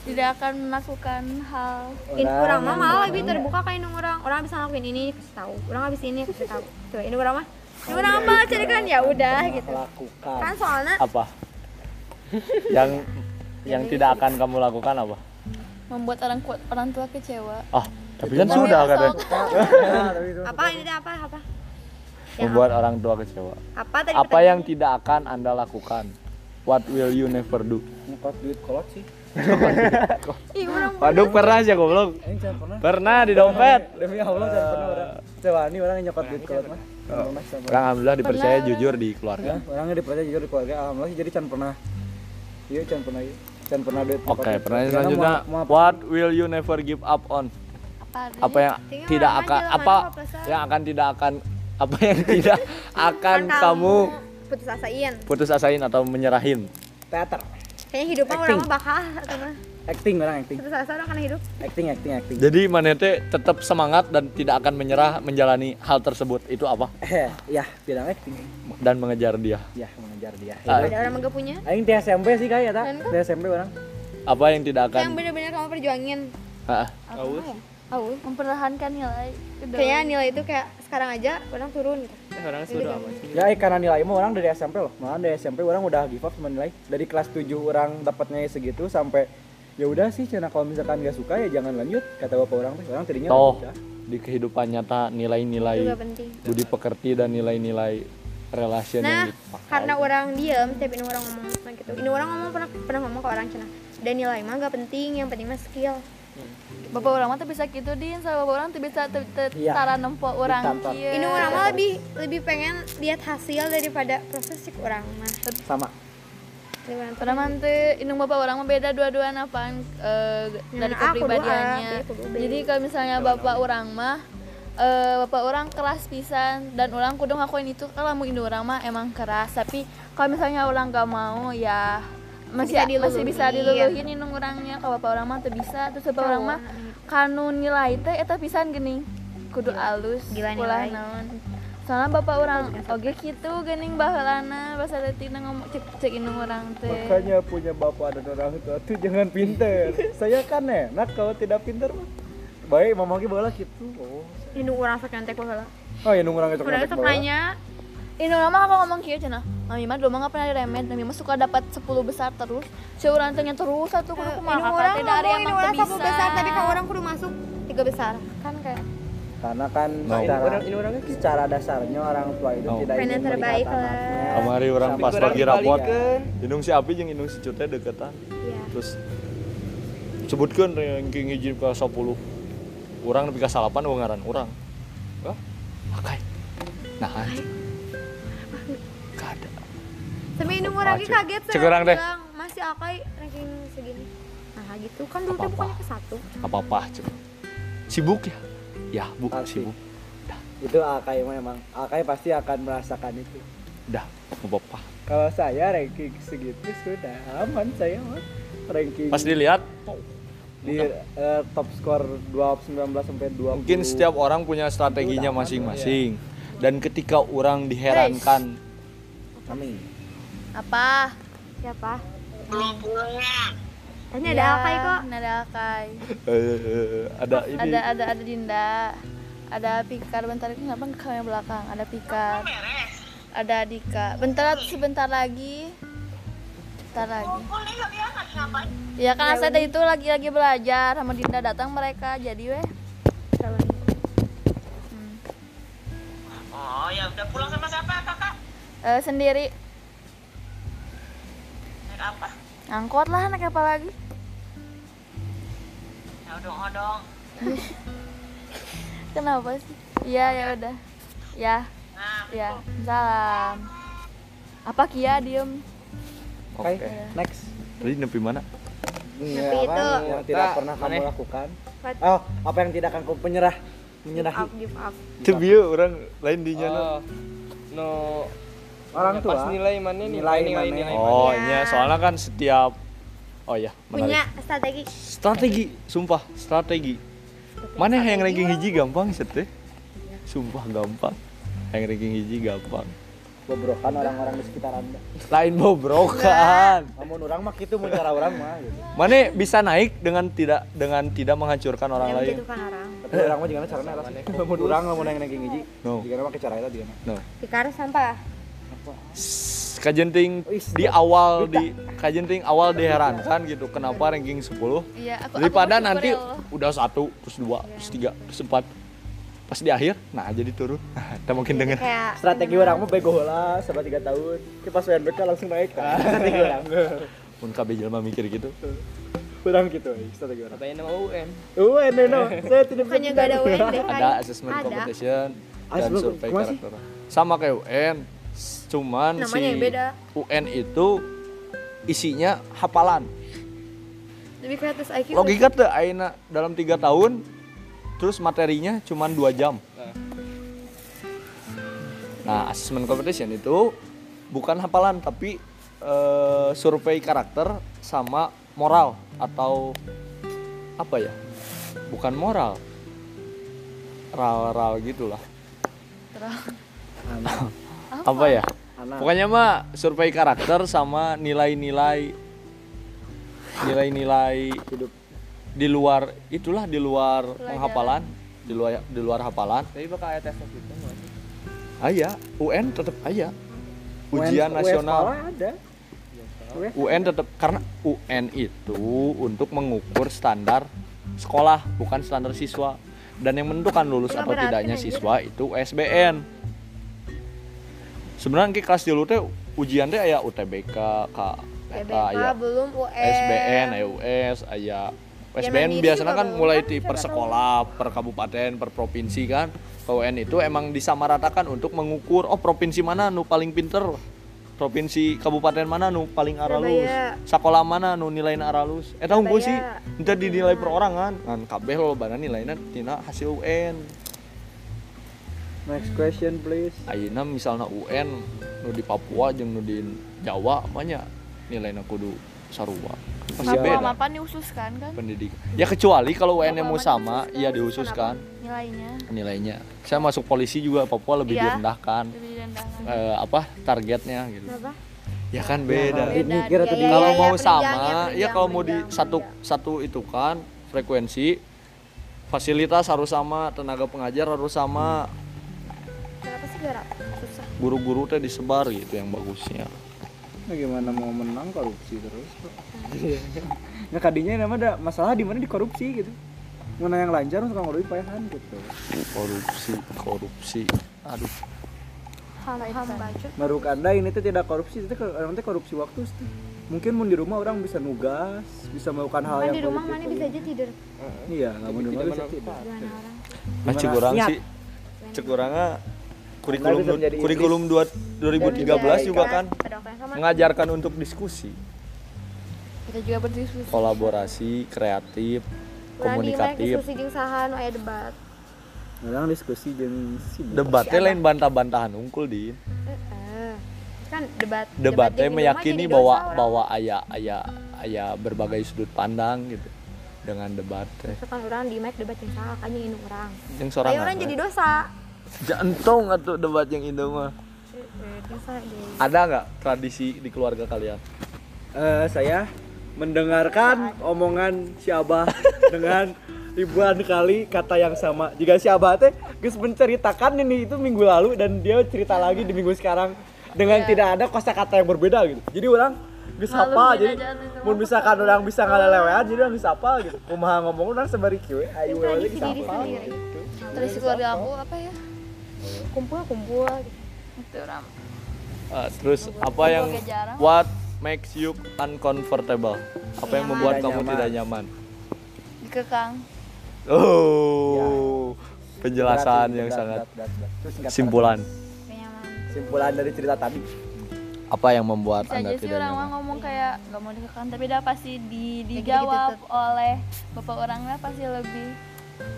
Speaker 4: tidak akan melakukan hal
Speaker 5: In, orang mah malah lebih terbuka kayak ini orang orang bisa ngelakuin ini kasih tahu orang habis ini kasih tahu tuh ini orang mah ini orang apa cari kan ya udah gitu
Speaker 2: Lakukan.
Speaker 5: kan soalnya
Speaker 1: Apa? yang yang tidak akan kamu lakukan apa?
Speaker 4: membuat orang kuat orang tua kecewa
Speaker 1: Ah, tapi kan sudah
Speaker 4: Tapi
Speaker 1: kan.
Speaker 4: asal-
Speaker 5: apa ini teh apa apa
Speaker 1: Membuat orang tua kecewa.
Speaker 5: apa tadi
Speaker 1: Apa yang tidak akan Anda lakukan? What will you never do?
Speaker 2: Ngekot duit kolot sih.
Speaker 1: Waduh, pernah aja goblok.
Speaker 2: Aing jangan pernah.
Speaker 1: Pernah di dompet.
Speaker 2: Demi Allah jangan pernah orang.
Speaker 1: Ah.
Speaker 2: Coba ini orang yang
Speaker 1: Nah,
Speaker 2: nyokot duit kolot mah. Jangan pernah, jangan pernah.
Speaker 1: Orang alhamdulillah dipercaya jujur di keluarga.
Speaker 2: Ya, orangnya dipercaya jujur di keluarga alhamdulillah sih, jadi jangan pernah. Iya, jangan pernah. iya. Jangan pernah duit.
Speaker 1: Oke,
Speaker 2: ngekot duit
Speaker 1: pertanyaan
Speaker 2: kolot. Karena
Speaker 1: selanjutnya.
Speaker 2: mau- mau-
Speaker 1: What will you never give up on?
Speaker 4: apa
Speaker 1: Apa yang
Speaker 5: Tinggal
Speaker 1: tidak
Speaker 5: orang
Speaker 1: akan
Speaker 5: aja,
Speaker 1: apa
Speaker 5: orang apa, Sar?
Speaker 1: yang akan tidak akan apa yang tidak akan kamu
Speaker 5: putus asain
Speaker 1: putus asain atau menyerahin?
Speaker 2: teater
Speaker 5: kayaknya hidup mah orang mah bakal ah, atau mah
Speaker 2: acting orang acting
Speaker 5: putus asa orang kan hidup
Speaker 2: acting acting acting
Speaker 1: Jadi manete tetap semangat dan tidak akan menyerah menjalani hal tersebut. Itu apa?
Speaker 2: eh ya bilang acting
Speaker 1: Dan mengejar dia.
Speaker 2: ya mengejar dia Iya.
Speaker 1: Ah.
Speaker 5: ada Ya, orang mah gak punya
Speaker 2: aing di SMP sih kayak tak di SMP orang
Speaker 1: Apa yang tidak
Speaker 5: yang
Speaker 1: akan
Speaker 5: bener-bener kamu perjuangin
Speaker 1: Ah,
Speaker 5: oh
Speaker 4: mempertahankan nilai Udah.
Speaker 5: kayaknya nilai itu kayak sekarang aja orang turun gitu
Speaker 6: Orang sudah apa sih?
Speaker 2: ya eh, karena nilai mah orang dari SMP loh malah dari SMP orang udah give up sama nilai dari kelas 7 orang dapatnya segitu sampai ya udah sih cina kalau misalkan gak suka ya jangan lanjut kata bapak orang teh orang tadinya
Speaker 1: toh
Speaker 2: udah.
Speaker 1: di kehidupan nyata nilai-nilai
Speaker 5: juga penting
Speaker 1: budi pekerti dan nilai-nilai relation yang
Speaker 5: Nah,
Speaker 1: dipakai.
Speaker 5: karena orang diam, tapi ini orang ngomong sama gitu. Ini orang ngomong pernah pernah ngomong ke orang Cina. Dan nilai mah gak penting, yang penting mah skill.
Speaker 4: bapak orang mah tuh bisa gitu din sama bapak orang tuh bisa tuh
Speaker 2: Iya.
Speaker 4: tara nempo orang iya.
Speaker 2: Ditantar.
Speaker 4: kieu.
Speaker 5: Ini orang mah lebih lebih pengen lihat hasil daripada proses sih orang mah.
Speaker 2: sama
Speaker 5: Ini orang tuh.
Speaker 4: Orang mantu, indung bapak orang mah beda dua-duaan apaan eh, dari
Speaker 5: Nah, aku dua,
Speaker 4: kepribadiannya.
Speaker 5: aku dua.
Speaker 4: Jadi kalau misalnya bapak orang mah eh, bapak orang keras pisan dan orang kudu ngakuin itu kalau mau indung orang mah emang keras tapi kalau misalnya orang gak mau ya masih
Speaker 5: Bisa diluluhin.
Speaker 4: masih bisa diluluhin indung orangnya kalau bapak orang mah tuh bisa terus bapak orang mah kanun nilai teh eta pisan gini kudu alus
Speaker 5: Gila
Speaker 4: ulah
Speaker 5: nilai.
Speaker 4: naon soalnya bapak orang oge kitu geuning baheulana basa detina ngomong cek cek indung orang teh
Speaker 2: makanya punya bapak dan orang tua tuh jangan pinter saya kan enak kalau tidak pinter mah. baik mamaki bola gitu oh
Speaker 5: Ini orang sok nyontek baheula.
Speaker 2: Oh ya nunggu orang itu
Speaker 5: Orang sok nanya,
Speaker 4: Ini mah kalau ngomong kieu cenah. Mami mah dulu mah nggak pernah diremet, mami mah suka dapat 10 besar terus. Si urang teh nya terus satu kudu
Speaker 5: ini
Speaker 4: kumaha
Speaker 5: orang
Speaker 4: kakak
Speaker 5: ngomong
Speaker 4: teh dari
Speaker 5: ini
Speaker 4: emang
Speaker 5: orang
Speaker 4: teu
Speaker 5: sok
Speaker 4: bisa.
Speaker 5: besar, tapi kalau orang kudu masuk tiga besar. Kan kayak
Speaker 2: karena kan
Speaker 1: No.
Speaker 2: secara,
Speaker 1: gitu.
Speaker 2: secara dasarnya orang tua itu
Speaker 1: No.
Speaker 2: tidak ingin
Speaker 5: Pengen
Speaker 2: melihat
Speaker 5: terbaik lah.
Speaker 2: anaknya
Speaker 1: Kamari orang pas
Speaker 6: Tapi
Speaker 1: lagi
Speaker 6: kurang
Speaker 1: rapot,
Speaker 6: dibalikeun.
Speaker 1: indung si Abi jeung indung si Cutnya deketan.
Speaker 5: Iya.
Speaker 1: Terus sebutkan ranking hiji ke 10. Urang nepi ka 8 wong ngaran urang. Hah? Pakai. Nah, anjing. Kada.
Speaker 5: Tapi ini orang lagi
Speaker 1: Cek-
Speaker 5: kaget
Speaker 1: cek orang deh.
Speaker 5: bilang, Masih akai ranking segini. Nah gitu kan dulu tuh
Speaker 1: Apa-apa.
Speaker 5: bukannya ke satu.
Speaker 1: Apa-apa, Cuk. Sibuk ya? Ya, Bu, sibuk.
Speaker 2: itu Akai memang Akai pasti akan merasakan itu
Speaker 1: Dah, enggak apa-apa.
Speaker 2: kalau saya ranking segitu sudah aman saya mah ranking
Speaker 1: Pas dilihat
Speaker 2: di eh, top skor 2019 sampai 20
Speaker 1: Mungkin setiap orang punya strateginya masing-masing. Dan ketika orang diherankan,
Speaker 2: kami
Speaker 4: Apa?
Speaker 5: Siapa? Ya, Nah. Tanya ada
Speaker 4: Ya,
Speaker 5: akai kok.
Speaker 4: Ada Akai.
Speaker 1: eh, ada ini.
Speaker 4: Ada ada ada Dinda. Ada Pikar bentar lagi kenapa ke yang belakang? Ada Pikar. Ada Dika. Bentar sebentar lagi. Bentar lagi. Ya kan saya tadi itu lagi-lagi belajar sama Dinda datang mereka jadi weh. Hmm.
Speaker 7: Oh ya udah pulang sama siapa kakak?
Speaker 4: Eh, sendiri
Speaker 7: Naik apa?
Speaker 4: angkot lah naik apa lagi?
Speaker 7: Ya odong odong.
Speaker 4: Kenapa sih? Iya ya udah. Ya,
Speaker 7: Nah,
Speaker 4: ya. Salam. Apa Kia diem?
Speaker 1: Oke.
Speaker 2: next
Speaker 1: Tadi nepi mana?
Speaker 2: Tapi
Speaker 5: itu.
Speaker 2: Iya, yang tidak
Speaker 6: Tak,
Speaker 2: pernah kamu
Speaker 6: aneh.
Speaker 2: lakukan
Speaker 5: What?
Speaker 2: oh apa yang tidak akan kau penyerah menyerahi
Speaker 5: Up, give up.
Speaker 1: Itu bieu orang lain di nyana.
Speaker 6: Oh, no Ya,
Speaker 2: orang tua
Speaker 6: pas nilai mana
Speaker 2: Nilai
Speaker 6: nilai nilai
Speaker 2: mana.
Speaker 6: nilai
Speaker 1: Oh,
Speaker 5: Iya.
Speaker 1: iya, soalnya kan setiap Oh ya, menarik.
Speaker 5: Punya strategi.
Speaker 1: Strategi, sumpah, strategi. Mana yang ranking hiji gampang set teh? Sumpah gampang. Yang ranking hiji gampang.
Speaker 2: bobrokan orang-orang di sekitar anda
Speaker 1: Lain bobrokan.
Speaker 2: namun orang mah gitu mau cara orang mah gitu.
Speaker 1: Mana bisa naik dengan tidak dengan tidak menghancurkan orang
Speaker 5: Yang
Speaker 1: lain?
Speaker 5: menjatuhkan gitu kan orang.
Speaker 2: tapi orang mah jangan caranya atas namun orang nggak mau naik naikin gigi
Speaker 1: No.
Speaker 2: jika mah cara itu jika
Speaker 1: No.
Speaker 5: Pikar sampah.
Speaker 1: S- Kajenting
Speaker 2: Wis,
Speaker 1: di awal di kajenting awal diherankan gitu kenapa ranking 10
Speaker 4: Iya, aku
Speaker 1: daripada
Speaker 4: aku bersyukur
Speaker 1: nanti
Speaker 4: ya Allah.
Speaker 1: udah satu terus dua terus tiga terus empat pas di akhir nah jadi turun kita mungkin denger
Speaker 5: Kayak
Speaker 2: strategi orang mah bego lah selama tiga tahun ke pas WNBK langsung naik kan strategi orang
Speaker 1: pun KB Jelma mikir gitu
Speaker 2: kurang gitu eh, strategi orang
Speaker 6: katanya nama UN
Speaker 2: oh no no saya tidak
Speaker 5: bukannya gak ada UNBK.
Speaker 1: ada assessment
Speaker 5: Ada.
Speaker 1: competition dan
Speaker 2: Assessment
Speaker 1: survei
Speaker 2: kemana sih?
Speaker 1: karakter sama kayak UN s- cuman
Speaker 5: Namanya
Speaker 1: si
Speaker 5: yang beda.
Speaker 1: UN itu isinya hafalan
Speaker 5: Lebih ke atas IQ.
Speaker 1: logika tuh Aina dalam tiga tahun terus materinya cuman dua jam nah assessment competition itu bukan hafalan tapi eh, survei karakter sama moral atau apa ya bukan moral ral ral gitulah apa? apa ya
Speaker 2: Nah.
Speaker 1: pokoknya mah survei karakter sama nilai-nilai nilai-nilai hidup di luar itulah di luar penghafalan di luar di luar hafalan
Speaker 6: tapi bakal ada tes gitu nggak sih?
Speaker 1: aya UN tetap aya ujian nasional
Speaker 2: ada
Speaker 1: UN tetap karena UN itu untuk mengukur standar sekolah bukan standar siswa dan yang menentukan lulus atau tidaknya siswa itu USBN sebenarnya ki kelas di teh ujian ya teh aya UTBK ka
Speaker 5: PBK
Speaker 1: ka aya
Speaker 5: belum UN. Eh,
Speaker 1: SBN, aya US, aya
Speaker 5: mandiri
Speaker 1: SBN biasanya
Speaker 5: juga
Speaker 1: kan
Speaker 5: belum
Speaker 1: mulai
Speaker 5: ya kan,
Speaker 1: di
Speaker 5: siapa
Speaker 1: per
Speaker 5: tahu.
Speaker 1: sekolah, per kabupaten, per provinsi kan. UN itu emang disamaratakan untuk mengukur oh provinsi mana nu paling pinter, provinsi kabupaten mana nu paling aralus,
Speaker 5: Surabaya.
Speaker 1: sekolah mana nu nilain aralus. Eh tahu gue sih,
Speaker 5: Surabaya.
Speaker 1: itu dinilai perorangan. Kan kabeh lo bana nilainnya tina hasil UN.
Speaker 2: next question please
Speaker 1: Ayeuna misalnya UN nu di Papua jeung nu di Jawa banyak nilainya kudu sarua. Pasti beda.
Speaker 4: Papua mapan diususkan kan
Speaker 1: pendidikan. Ya kecuali kalau UN-nya mau
Speaker 4: Papua
Speaker 1: sama,
Speaker 4: dihususkan.
Speaker 1: ya
Speaker 5: kan?
Speaker 1: dihususkan
Speaker 4: nilainya.
Speaker 1: nilainya. Saya masuk polisi juga Papua lebih
Speaker 4: Iya.
Speaker 1: direndahkan
Speaker 4: Lebih rendahan.
Speaker 1: eh, apa targetnya gitu.
Speaker 5: Kenapa?
Speaker 1: Ya kan beda.
Speaker 2: Ini mikir atau
Speaker 5: Ya,
Speaker 1: kalau
Speaker 5: ya,
Speaker 1: mau
Speaker 5: ya,
Speaker 1: sama,
Speaker 5: penunjangnya,
Speaker 1: ya
Speaker 5: penunjang,
Speaker 1: kalau mau di
Speaker 5: penunjang,
Speaker 1: satu satu itu kan frekuensi fasilitas harus sama, tenaga pengajar harus sama,
Speaker 5: Kenapa sih gerak? Susah.
Speaker 1: guru-guru teh disebar gitu yang bagusnya.
Speaker 2: Nah, gimana mau menang korupsi terus? Pak? nah, kadinya nama ada masalah di mana di korupsi gitu. Mana yang lancar suka ngorobin payahan gitu.
Speaker 1: korupsi korupsi aduh
Speaker 2: Baru anda ini tuh tidak korupsi, itu orang teh korupsi waktu sih. Mungkin mun di rumah orang bisa nugas, bisa melakukan hal yang
Speaker 5: Kan di rumah
Speaker 2: produktif.
Speaker 5: mana bisa aja tidur
Speaker 2: Iya, nggak mau di rumah bisa tidak.
Speaker 1: nah cikurang sih cikurangnya kurikulum
Speaker 2: Anda bisa menjadi
Speaker 1: kurikulum dua- 2013 juga kan
Speaker 5: pedofren sama
Speaker 1: mengajarkan untuk diskusi
Speaker 5: kita juga berdiskusi
Speaker 1: kolaborasi kreatif
Speaker 5: Berani main
Speaker 1: komunikatif
Speaker 5: diskusi jeung saha nu aya debat
Speaker 2: Orang diskusi jeung sibuk.
Speaker 1: debatnya lain bantah-bantahan unggul di
Speaker 5: Heeh. kan debat
Speaker 1: debatnya
Speaker 5: jeung di rumah
Speaker 1: meyakini
Speaker 5: jadi
Speaker 1: bahwa
Speaker 5: dosa orang.
Speaker 1: bahwa ayah ayah ayah berbagai sudut pandang gitu dengan debat teh
Speaker 5: Misalkan orang di mic debat jeung saha kan jeung indung urang
Speaker 1: yang ya.
Speaker 5: Aya
Speaker 1: seorang
Speaker 5: orang jadi dosa
Speaker 1: jantung atau debat yang itu mah
Speaker 5: Heeh, dosa deh
Speaker 1: ada nggak tradisi di keluarga kalian
Speaker 2: Eh, saya mendengarkan omongan si Abah dengan ribuan kali kata yang sama. Jika si Abah teh geus menceritakan ini itu minggu lalu dan dia cerita lagi di minggu sekarang dengan tidak ada kosakata yang berbeda gitu. Jadi orang geus apa jadi mun misalkan orang bisa ngalelewean jadi orang geus apa gitu. Kumaha ngomong orang sebari kieu ayo we lagi apa gitu.
Speaker 4: Tradisi keluarga aku apa ya?
Speaker 5: kumpul kumpul gitu.
Speaker 4: Itu ram.
Speaker 1: Eh, terus apa yang
Speaker 4: agak jarang.
Speaker 1: what makes you uncomfortable apa yang membuat kamu tidak nyaman
Speaker 4: Dikekang.
Speaker 1: oh penjelasan yang sangat simpulan
Speaker 2: Simpulan dari cerita tadi.
Speaker 1: apa yang membuat
Speaker 4: Bisa
Speaker 1: anda
Speaker 4: aja sih
Speaker 1: tidak
Speaker 4: orang mah
Speaker 1: nyaman
Speaker 4: ngomong kayak nggak mau dikekang, tapi dah pasti di, dijawab oleh bapak orangnya pasti lebih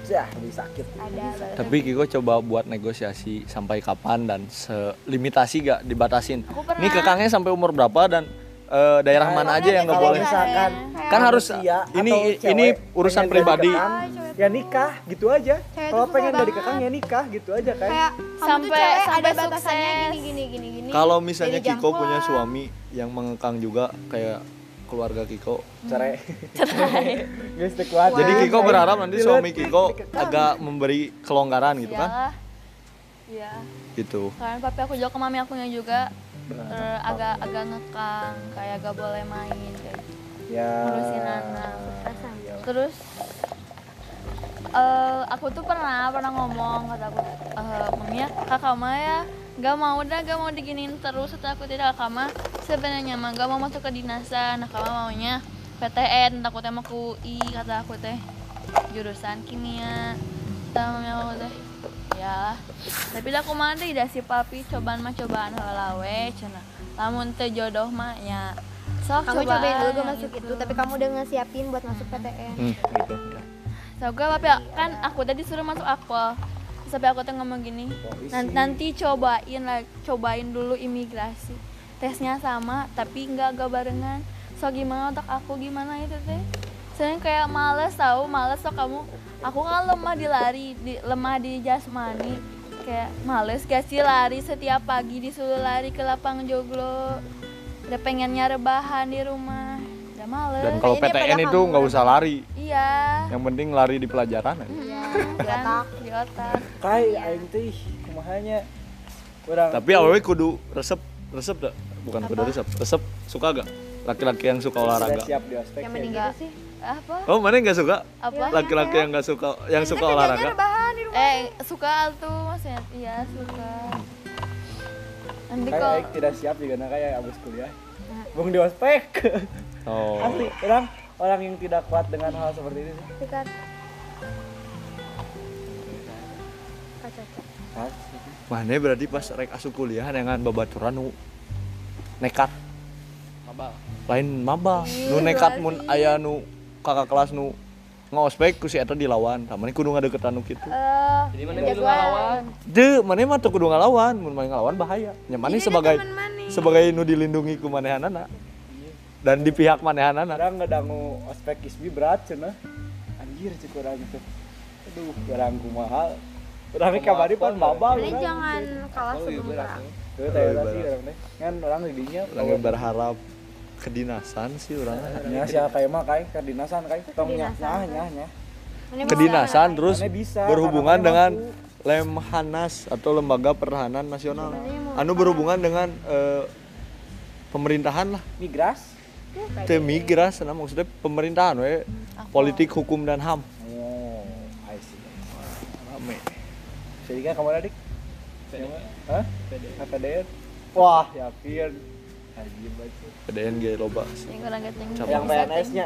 Speaker 2: Yah, lebih sakit.
Speaker 4: Iya,
Speaker 1: tapi Kiko coba buat negosiasi sampai kapan dan selimitasi gak dibatasin
Speaker 4: Aku pernah.
Speaker 1: ini kekangnya sampai umur berapa dan eh, daerah mana aja yang nggak boleh
Speaker 2: Misalkan
Speaker 1: kan harus
Speaker 2: Iya, atau
Speaker 1: ini
Speaker 2: cewek
Speaker 1: ini urusan
Speaker 2: pengen
Speaker 1: pribadi
Speaker 2: dikekang, ya nikah gitu aja
Speaker 5: Cewek
Speaker 2: kalau
Speaker 5: tuh
Speaker 2: pengen
Speaker 5: susah
Speaker 2: dari
Speaker 5: banget.
Speaker 2: kekang ya nikah gitu aja kan
Speaker 5: kayak sampai
Speaker 4: Sampai-
Speaker 5: cewek
Speaker 4: sampai
Speaker 5: ada batasannya
Speaker 4: sukses.
Speaker 5: gini gini gini gini
Speaker 1: kalau misalnya
Speaker 5: Jadi
Speaker 1: Kiko
Speaker 5: jangkauan.
Speaker 1: punya suami yang mengekang juga kayak keluarga Kiko
Speaker 2: cerai guys teu kuat
Speaker 1: Jadi Kiko berharap nanti
Speaker 2: Dilihat,
Speaker 1: suami Kiko agak memberi kelonggaran gitu kan?
Speaker 4: iyalah. Iya.
Speaker 1: Gitu.
Speaker 4: Karena papi Kan, aku juga ke mami aku yang juga eh, agak agak ngekang, kayak gak boleh main kayak gitu.
Speaker 2: ya
Speaker 4: ngurusin
Speaker 5: Ah.
Speaker 4: anak. Terus eh, aku tuh pernah pernah ngomong kata aku eh mami ya, kakak mah ya gak mau dah gak mau diginiin terus kata aku tidak kakak mah sebenarnya mah gak mau masuk ke dinasan kakak mah maunya PTN takutnya mau ke UI kata aku teh jurusan kimia sama mami aku teh ya tapi dah aku mah deh dah si papi cobaan mah cobaan heula we cenah lamun teh jodoh mah ya sok
Speaker 5: kamu
Speaker 4: gitu.
Speaker 5: cobain dulu gue
Speaker 4: yang
Speaker 5: masuk itu tapi kamu udah ngesiapin buat masuk PTN
Speaker 1: Hmm, gitu.
Speaker 4: So gue tapi kan aku tadi suruh masuk aqua sampai aku tuh ngomong gini "Nan- nanti cobain lah cobain dulu imigrasi tesnya sama tapi nggak agak barengan so gimana otak aku gimana itu teh saya kayak males tahu males so kamu aku kan lemah di lari di, lemah di jasmani kayak males gak sih lari setiap pagi disuruh lari ke lapang joglo udah pengennya rebahan di rumah udah males
Speaker 1: Dan kalau PTN itu nggak usah lari,
Speaker 4: iya
Speaker 1: yang penting lari di pelajaran aja.
Speaker 4: Iya, di otak, di otak.
Speaker 2: kai aing teh kumahanya orang
Speaker 1: Tapi awalnya kudu resep, resep dah. Bukan kudu resep, resep suka gak? Laki-laki yang suka
Speaker 2: sudah
Speaker 1: olahraga.
Speaker 2: siap di ospek ya.
Speaker 5: yang mending gitu
Speaker 4: Enggak.
Speaker 5: sih
Speaker 4: Apa?
Speaker 1: Oh, mana yang gak suka?
Speaker 4: Apa?
Speaker 1: Laki-laki yang gak suka, yang suka olahraga.
Speaker 5: bahan di rumah
Speaker 4: Eh, suka tuh maksudnya. Iya, suka. Nanti
Speaker 2: Kai
Speaker 4: kalau
Speaker 2: aing tidak siap juga nah kayak abis kuliah bung di ospek
Speaker 1: Oh,
Speaker 2: asli orang orang yang tidak kuat dengan hal seperti ini sih.
Speaker 5: Sikat.
Speaker 1: mana berarti pas rek asup kuliah dengan babaturan nu nekat. Lain maba, nu nekat mun aya nu kakak kelas nu ngospek ku si eta dilawan. Tamane kudu ngadeketan nu kitu.
Speaker 5: Eh,
Speaker 6: Jadi mana gitu, yang dulu lawan?
Speaker 1: De, mana mah teu kudu ngalawan, mun mana ngalawan bahaya. Nya mana sebagai sebagai nu dilindungi ku manehanana. Dan di pihak manehanana.
Speaker 2: orang ngedangu ospek isbi berat cenah anjir cek orang itu aduh orang kumaha orang ini kamari pan babal
Speaker 5: ini
Speaker 2: urang.
Speaker 5: jangan kalah
Speaker 2: Oh, iya,
Speaker 5: sebelum orang
Speaker 2: Tuh, teh urang sih orang teh. Kan orang di dinya.
Speaker 1: Lagi berharap kedinasan sih urang.
Speaker 2: Ya sih kayak mah kayak ke dinasan kayak tong nyah
Speaker 5: kan?
Speaker 2: nyah nyah. nyah.
Speaker 5: Ini mau
Speaker 1: kedinasan terus
Speaker 2: Mana bisa,
Speaker 1: berhubungan
Speaker 2: karena
Speaker 1: dengan
Speaker 2: mana
Speaker 1: Lemhanas atau Lembaga Pertahanan Nasional. Anu berhubungan dengan eh, pemerintahan lah.
Speaker 2: Migras.
Speaker 1: Temigras, nah maksudnya pemerintahan we. Politik, hukum dan HAM.
Speaker 2: Oh. Jadi kan kamu adik? Hah? PDN. Wah, yakin. Anjir banget.
Speaker 1: PDN ge loba
Speaker 4: Yang kurang geteng.
Speaker 1: Cabang.
Speaker 2: Yang PNS-nya.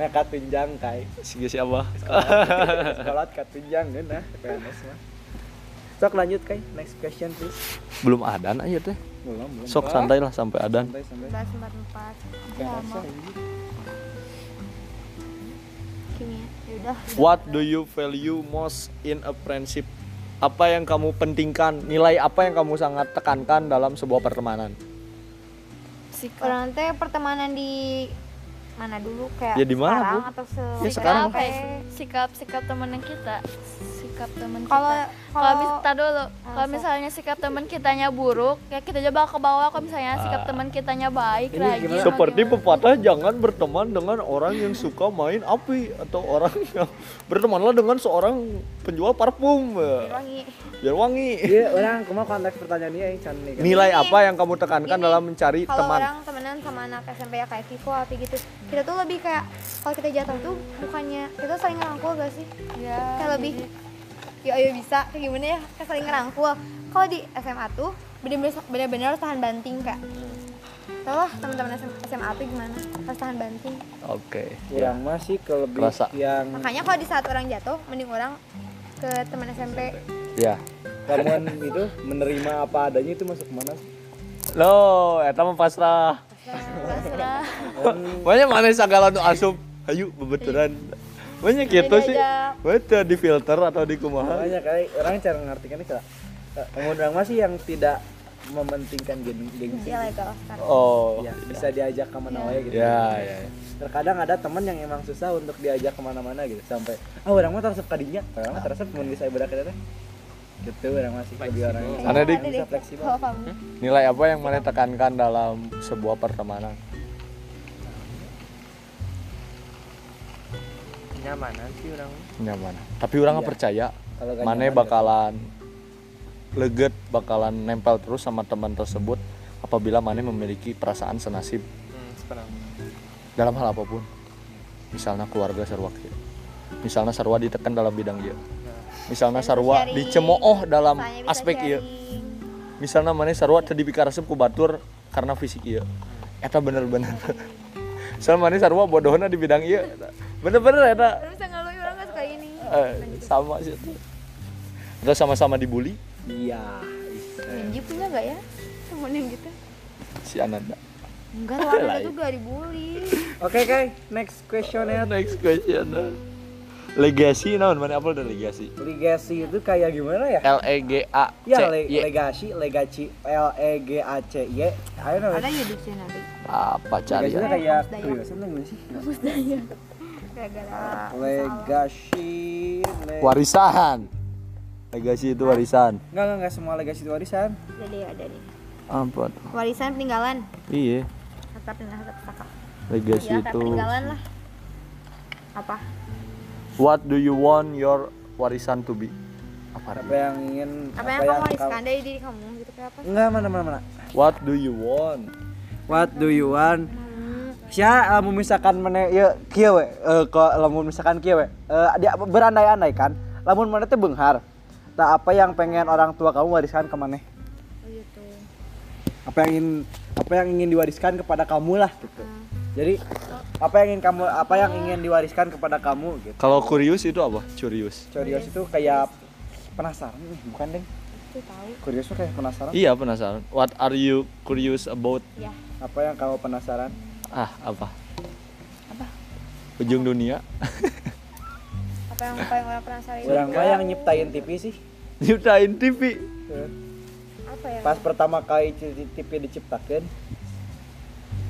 Speaker 2: Mereka tunjang kai.
Speaker 1: si ge si Abah.
Speaker 2: Sekolah kat tunjang nah PNS mah. Sok lanjut kai, next question please.
Speaker 1: Belum adan aja teh.
Speaker 2: Belum, belum.
Speaker 1: Sok santai lah sampai adan.
Speaker 2: Santai, santai.
Speaker 5: Bahas empat empat.
Speaker 2: Bahasa,
Speaker 5: Lama.
Speaker 2: anjir.
Speaker 5: Kimia. Yaudah.
Speaker 1: What do you value most in a friendship? Apa yang kamu pentingkan? Nilai apa yang kamu sangat tekankan dalam sebuah pertemanan?
Speaker 4: Sikap.
Speaker 5: Orang teh pertemanan di mana dulu kayak
Speaker 1: Ya, di mana,
Speaker 5: sekarang
Speaker 1: Bu?
Speaker 5: atau se
Speaker 1: Ya, sekarang.
Speaker 5: kayak
Speaker 4: sikap sikap temen kita sikap temen kita
Speaker 5: kalau
Speaker 4: kalau
Speaker 5: kalau Ah,
Speaker 4: bisa dulu kalau
Speaker 5: sok.
Speaker 4: misalnya sikap temen kitanya buruk ya kita aja bakal ke bawah kalau misalnya sikap temen kitanya baik lagi
Speaker 2: gimana?
Speaker 1: Seperti pepatah jangan berteman dengan orang yang suka main api atau orang yang bertemanlah dengan seorang penjual parfum
Speaker 5: wangi
Speaker 1: biar wangi.
Speaker 2: Iya, orang kumaha konteks pertanyaannya yang can nih. kan?
Speaker 1: Nilai apa yang kamu tekankan
Speaker 5: Gini,
Speaker 1: dalam mencari Ya,
Speaker 5: kalau
Speaker 1: teman?
Speaker 5: orang temenan sama anak SMP ya kayak Kiko atau gitu kita tuh lebih kayak kalau kita jatuh tuh bukannya kita saling ngerangkul gak sih kayak lebih ya ayo bisa kayak gimana ya kayak saling ngerangkul kalau di SMA tuh bener-bener bener-bener harus tahan banting kak tau lah teman-teman SMA tuh gimana harus tahan banting
Speaker 1: Oke.
Speaker 2: Kurang masih ke lebih
Speaker 1: Kerasa.
Speaker 2: yang
Speaker 5: makanya kalau di saat orang jatuh mending orang ke teman SMP
Speaker 1: Ya.
Speaker 2: kamuan itu menerima apa adanya itu masuk mana?
Speaker 1: Lo, eta mah pasrah.
Speaker 4: Pasrah.
Speaker 1: Banyak mana segala nu asup. Hayu bebeturan. Banyak gitu sih. Betul di filter atau di kumaha.
Speaker 2: Banyak kali orang cara ngartikan itu. Kamu orang masih yang tidak mementingkan gen gengsi.
Speaker 5: ya legal
Speaker 1: Oh.
Speaker 2: Ya, bisa diajak kemana mana gitu.
Speaker 1: Ya, ya. ya.
Speaker 2: Terkadang ada teman yang emang susah untuk diajak kemana-mana gitu sampai ah orang mah terasa kadinya, orang mah terasa mun bisa ibadah kita teh. Gitu orang masih lebih orang. yang-
Speaker 1: Karena di
Speaker 2: Bisa fleksibel.
Speaker 5: kalau kamu
Speaker 1: nilai apa yang mana tekankan dalam sebuah pertemanan?
Speaker 6: Nyamanan sih orang.
Speaker 1: Nyaman. Tapi
Speaker 5: Iya.
Speaker 1: orang percaya
Speaker 2: Kalau gak
Speaker 1: mana
Speaker 2: nyaman, ya.
Speaker 1: bakalan leget, bakalan nempel terus sama teman tersebut apabila mana memiliki perasaan senasib
Speaker 6: Hmm, seperang.
Speaker 1: dalam hal apapun. Misalnya keluarga sarwa kieu. Misalnya sarwa ditekan dalam bidang dia. Misalnya sarwa
Speaker 5: sharing.
Speaker 1: dicemooh dalam
Speaker 5: Soalnya bisa
Speaker 1: aspek ieu.
Speaker 5: sharing.
Speaker 1: misalnya mana sarwa tadi bikaresep ku batur karena fisik iya eta bener-bener misalnya mana sarwa bodohna di bidang iya eta. bener-bener eta
Speaker 5: Orang bisa ngeluh orang gak suka ini
Speaker 1: eh, sama sih itu atau sama-sama dibully
Speaker 2: Iya.
Speaker 5: Dia punya gak ya temen yang gitu?
Speaker 1: si Ananda
Speaker 5: Enggak lah,
Speaker 1: Lah,
Speaker 5: ada
Speaker 1: iya.
Speaker 5: tuh gak dibully
Speaker 2: Oke, Kai. Next questionnya.
Speaker 1: next question legasi naon mana apa udah legasi
Speaker 2: Legasi itu kayak gimana ya?
Speaker 1: L E G A C
Speaker 2: Ya, le-
Speaker 1: Y
Speaker 2: legasi, legaci, L E G A C Y. Ayo nama.
Speaker 5: Ada ya dictionary
Speaker 1: apa cari ya
Speaker 2: Legasinya kayak gitu.
Speaker 5: Kampus
Speaker 2: Kebiasaan tuh
Speaker 5: Dayak.
Speaker 2: gimana sih?
Speaker 5: Gara-gara
Speaker 2: Legasi. le-
Speaker 1: warisan legasi itu warisan
Speaker 2: Enggak, enggak, enggak semua legasi itu warisan.
Speaker 5: Jadi ada nih
Speaker 1: apa tuh?
Speaker 5: Warisan peninggalan
Speaker 1: iya
Speaker 5: Harta peninggalan, harta pusaka
Speaker 1: legasi
Speaker 5: Iya, harta
Speaker 1: itu
Speaker 5: peninggalan lah Apa?
Speaker 1: what do you want your warisan to be apa
Speaker 2: Apa yang ingin
Speaker 5: Apa, yang kamu wariskan dari diri kamu gitu kayak apa?
Speaker 2: Enggak, mana mana mana.
Speaker 1: What do you want?
Speaker 2: What do you want? Sia lamun misalkan mana ya kieu we, eh, ko- lamun misalkan kieu we, eh, dia berandai-andai kan, lamun mana teh beunghar. Tah apa yang pengen orang tua kamu wariskan ke maneh? Apa yang ingin apa yang ingin diwariskan kepada kamu lah gitu. Jadi apa yang ingin kamu apa yang ingin diwariskan kepada kamu gitu.
Speaker 1: Kalau curious itu apa? Curious.
Speaker 2: Curious itu kayak penasaran, ih, bukan deh. Curious tuh kayak penasaran.
Speaker 1: Iya penasaran. What are you curious about?
Speaker 2: Apa yang kamu penasaran?
Speaker 1: Ah apa? Apa? Ujung dunia.
Speaker 5: Apa yang paling orang penasaran itu?
Speaker 2: Orang mah yang nyiptain TV sih.
Speaker 1: Nyiptain TV.
Speaker 5: Apa ya?
Speaker 2: pas pertama kali ci- TV diciptakan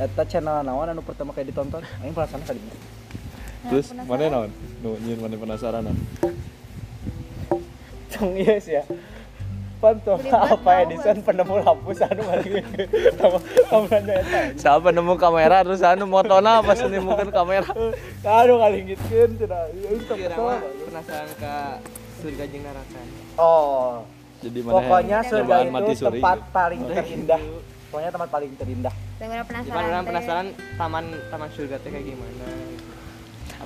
Speaker 2: eta channel naon anu pertama kali ditonton aing penasaran tadi Nah,
Speaker 1: Terus mana naon? Nu nyin mana penasaran? naon?
Speaker 2: cong iya sih ya Pantom apa Edison penemu lampu anu balik sama sama nanya eta
Speaker 1: Siapa nemu kamera terus anu motona pas nemukan kamera.
Speaker 2: aduh ngalingitkeun cenah ieu
Speaker 6: Kira mah Iya, penasaran ke surga jeung neraka.
Speaker 2: oh
Speaker 1: Jadi mana?
Speaker 2: pokoknya
Speaker 1: yang-
Speaker 2: surga
Speaker 1: Cobaan
Speaker 2: itu
Speaker 1: suri.
Speaker 2: tempat paling terindah pokoknya tempat paling terindah
Speaker 5: Yang orang penasaran
Speaker 6: Cuman orang
Speaker 5: teh.
Speaker 6: penasaran taman taman surga teh kayak gimana. gitu.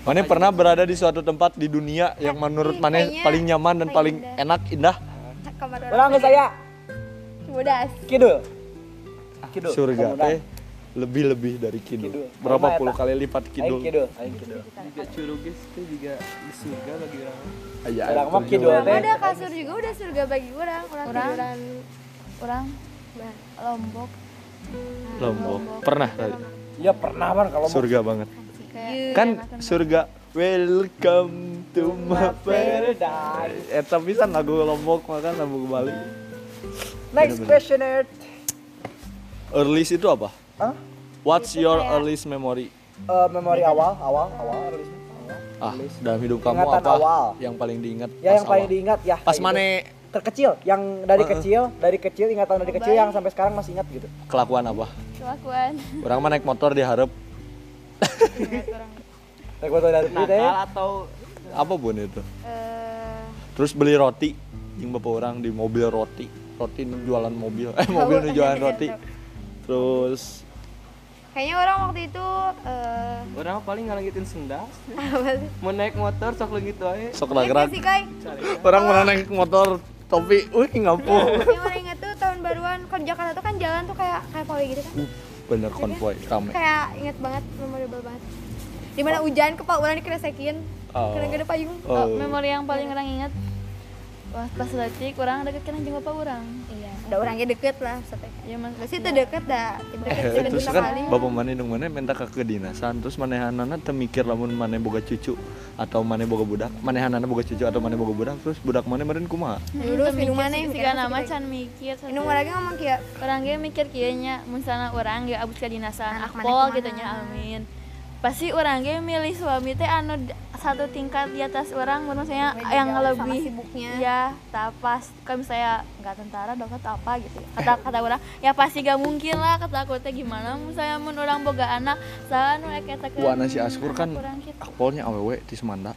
Speaker 1: Mana pernah berada di suatu tempat di dunia
Speaker 2: Nah,
Speaker 1: yang menurut mana
Speaker 5: kayaknya
Speaker 1: paling nyaman dan paling
Speaker 5: paling
Speaker 1: enak, indah?
Speaker 5: kamar orang
Speaker 2: Orang ke saya
Speaker 5: bodas
Speaker 2: kidul. Ah, Kidul.
Speaker 1: Surga Eh,
Speaker 2: Komodan.
Speaker 1: teh lebih-lebih dari
Speaker 2: Kidul.
Speaker 1: kidul. Berapa
Speaker 2: Eta.
Speaker 1: puluh kali lipat
Speaker 2: Aing
Speaker 1: kidul?
Speaker 2: kidul, aing kidul.
Speaker 6: Juga curugis itu juga di surga bagi orang.
Speaker 1: Aya,
Speaker 2: Orang mah
Speaker 1: itu
Speaker 2: kidul
Speaker 1: juga.
Speaker 2: teh.
Speaker 5: udah kasur juga udah surga bagi orang orang
Speaker 4: Orang.
Speaker 5: tiduran
Speaker 4: Orang Lombok
Speaker 1: Lombok. Pernah tadi.
Speaker 2: Iya pernah kan kalau mau.
Speaker 1: Surga banget.
Speaker 4: kayak
Speaker 1: Kan surga welcome to my paradise.
Speaker 2: Paradise.
Speaker 1: Eta pisan eh, lagu Lombok makan lagu Bali.
Speaker 2: Next
Speaker 1: Bener-bener.
Speaker 2: questioner.
Speaker 1: Earliest itu apa?
Speaker 2: Hah?
Speaker 1: What's your earliest memory?
Speaker 2: Eh, memori awal, awal, awal, rilis. awal.
Speaker 1: Ah, dalam hidup kamu
Speaker 2: Ingatan
Speaker 1: apa
Speaker 2: awal.
Speaker 1: yang paling diingat?
Speaker 2: Ya yang
Speaker 1: pas
Speaker 2: paling
Speaker 1: awal?
Speaker 2: diingat ya.
Speaker 1: Pas
Speaker 2: kayak gitu.
Speaker 1: mana
Speaker 2: Terkecil, yang dari
Speaker 1: Heeh.
Speaker 2: kecil, dari kecil ingatan dari kecil yang sampai sekarang masih ingat gitu.
Speaker 1: kelakuan apa?
Speaker 4: kelakuan
Speaker 1: Orang mah naik motor diharap
Speaker 2: Naik foto dari itu ya.
Speaker 6: Nakal atau
Speaker 1: apa pun itu. Terus beli roti, yang bapak orang di mobil roti, roti nu jualan mobil, eh mobil nu jualan roti. Terus
Speaker 5: kayaknya orang waktu itu eh
Speaker 6: orang paling ngalangitin sendal.
Speaker 5: apa sih
Speaker 6: Mau naik motor sok gitu leungit wae.
Speaker 1: sok
Speaker 5: Ingat nggak
Speaker 1: lagrak,
Speaker 5: iya sih kai
Speaker 1: orang mana naik motor topi, wih ngampung.
Speaker 5: yang orang ingat tuh tahun baruan kalau di Jakarta tuh kan jalan tuh kayak kayak pawai gitu kan
Speaker 1: Bener konvoy rame.
Speaker 5: kayak inget banget memorable banget dimana hujan kepala orang dikeresekin
Speaker 1: Oh.
Speaker 5: karena gak ada payung
Speaker 1: Oh. Iya.
Speaker 4: memori yang paling orang ingat Wah, pas letik orang deket kan jeung bapak orang
Speaker 5: iya udah orangnya deket lah maksudnya
Speaker 4: ya mas
Speaker 5: Masih itu deket dah, deket sih
Speaker 1: Eh, terus
Speaker 5: bentuk
Speaker 1: kan
Speaker 5: kali.
Speaker 1: bapak mana nung mana minta ke kedinasan terus manehanana teu mikir lamun mana boga cucu atau mana boga budak manehanana boga cucu atau mana boga budak terus budak mana meureun kumaha
Speaker 5: Dulu minum mana Nah, yang
Speaker 4: Tiga nama can mikir satu.
Speaker 5: Minum lagi ngomong kayak
Speaker 4: orang ge mikir kieu nya mun sana urang ge abus ka dinasan
Speaker 5: Anak mana
Speaker 4: akpol
Speaker 5: kumaha.
Speaker 4: gitu nya amin pasti orang ge milih suami teh anu d- satu tingkat di atas orang mun maksudnya
Speaker 5: Beda
Speaker 4: yang
Speaker 5: jauh sama
Speaker 4: lebih
Speaker 5: sibuknya.
Speaker 4: ya tak pas kan saya nggak tentara dokter atau apa gitu ya. kata kata orang ya pasti gak mungkin lah kata aku teh gimana mun saya mun orang boga anak saya nu eta ke
Speaker 1: Wana si Askur kan
Speaker 4: kurang gitu.
Speaker 1: akpolnya awewe di Sumanda.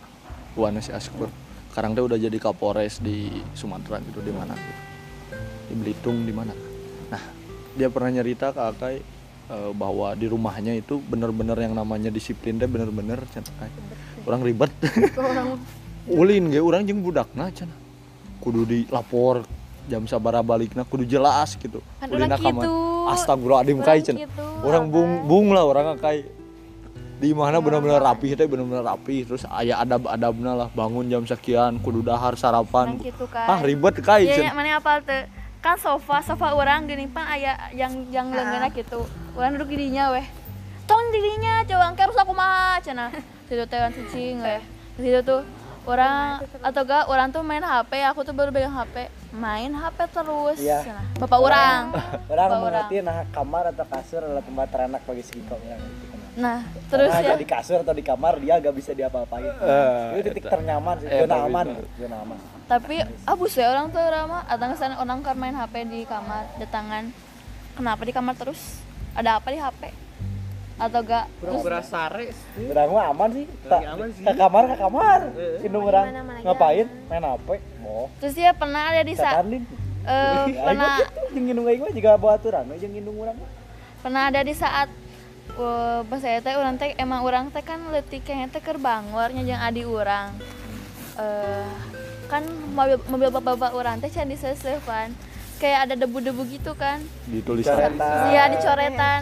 Speaker 1: Wana si Askur. Sekarang dia udah jadi Kapolres di Sumatera gitu di mana gitu. Di Belitung di mana. Nah, dia pernah nyerita ke Akai eh, bahwa di rumahnya itu bener-bener yang namanya disiplin teh bener-bener can Akai. Orang ribet. Ulin ge orang jeung budakna can. Kudu dilapor jam sabara balikna kudu jelas gitu.
Speaker 4: Kan
Speaker 1: Ulin
Speaker 4: orang
Speaker 1: ka mana.
Speaker 4: kitu.
Speaker 1: Astagfirullahaladzim
Speaker 4: Orang
Speaker 1: kai can.
Speaker 4: kitu,
Speaker 1: Orang bung
Speaker 4: Akai.
Speaker 1: bung lah orang kai di mana benar-benar rapi teh benar-benar rapi terus aya adab-adabna lah bangun jam sekian kudu dahar sarapan
Speaker 4: Nah, gitu, Kai.
Speaker 1: ah ribet kai
Speaker 4: Iya,
Speaker 1: Cen.
Speaker 4: ya, mana apa tuh? Kan sofa, sofa orang gini pan aya yang yang leungeunna gitu. Orang duduk di dinya weh. Tong di dinya coba angker rusak kumaha cenah. Situ teh orang cicing weh. Situ tuh orang atau enggak orang tuh main HP, aku tuh baru pegang HP. Main HP terus
Speaker 2: Iya.
Speaker 4: cenah. Bapak orang.
Speaker 2: Orang
Speaker 4: Bapak orang.
Speaker 2: mengerti nah kamar atau kasur adalah tempat terenak bagi si Iko. ya, gitu kan.
Speaker 4: Nah, terus
Speaker 2: Karena
Speaker 4: ya.
Speaker 2: ada di kasur atau di kamar dia gak bisa diapa-apain.
Speaker 1: Eh,
Speaker 2: itu titik
Speaker 1: eta.
Speaker 2: ternyaman sih,
Speaker 1: Eta
Speaker 2: zona
Speaker 1: gitu.
Speaker 2: aman, gitu, zona aman.
Speaker 4: Tapi abus ya orang tuh ramah. Datang ke sana orang kan main HP di kamar, datangan. Kenapa di kamar terus? Ada apa di HP? Atau enggak
Speaker 6: Pura-pura sare.
Speaker 2: Orang mah aman sih. Ta,
Speaker 6: aman sih.
Speaker 2: Ke kamar ke kamar.
Speaker 1: Eh.
Speaker 2: Indung orang ngapain? Main HP. Oh,
Speaker 4: Terus dia pernah ada di
Speaker 2: setan
Speaker 4: saat
Speaker 2: lin. Ya,
Speaker 4: eh, pernah
Speaker 2: Jeung indung aing mah juga bawa aturan, jeung indung urang mah.
Speaker 4: pernah ada di saat eh pas saya teh orang teh emang orang teh kan leutik kayaknya teh keur bangornya jeung adi urang. Eh kan mobil mobil bapak-bapak orang teh can diseseuh kan. Kayak ada debu-debu gitu kan.
Speaker 1: ditulis
Speaker 2: Coretan.
Speaker 4: Iya dicoretan.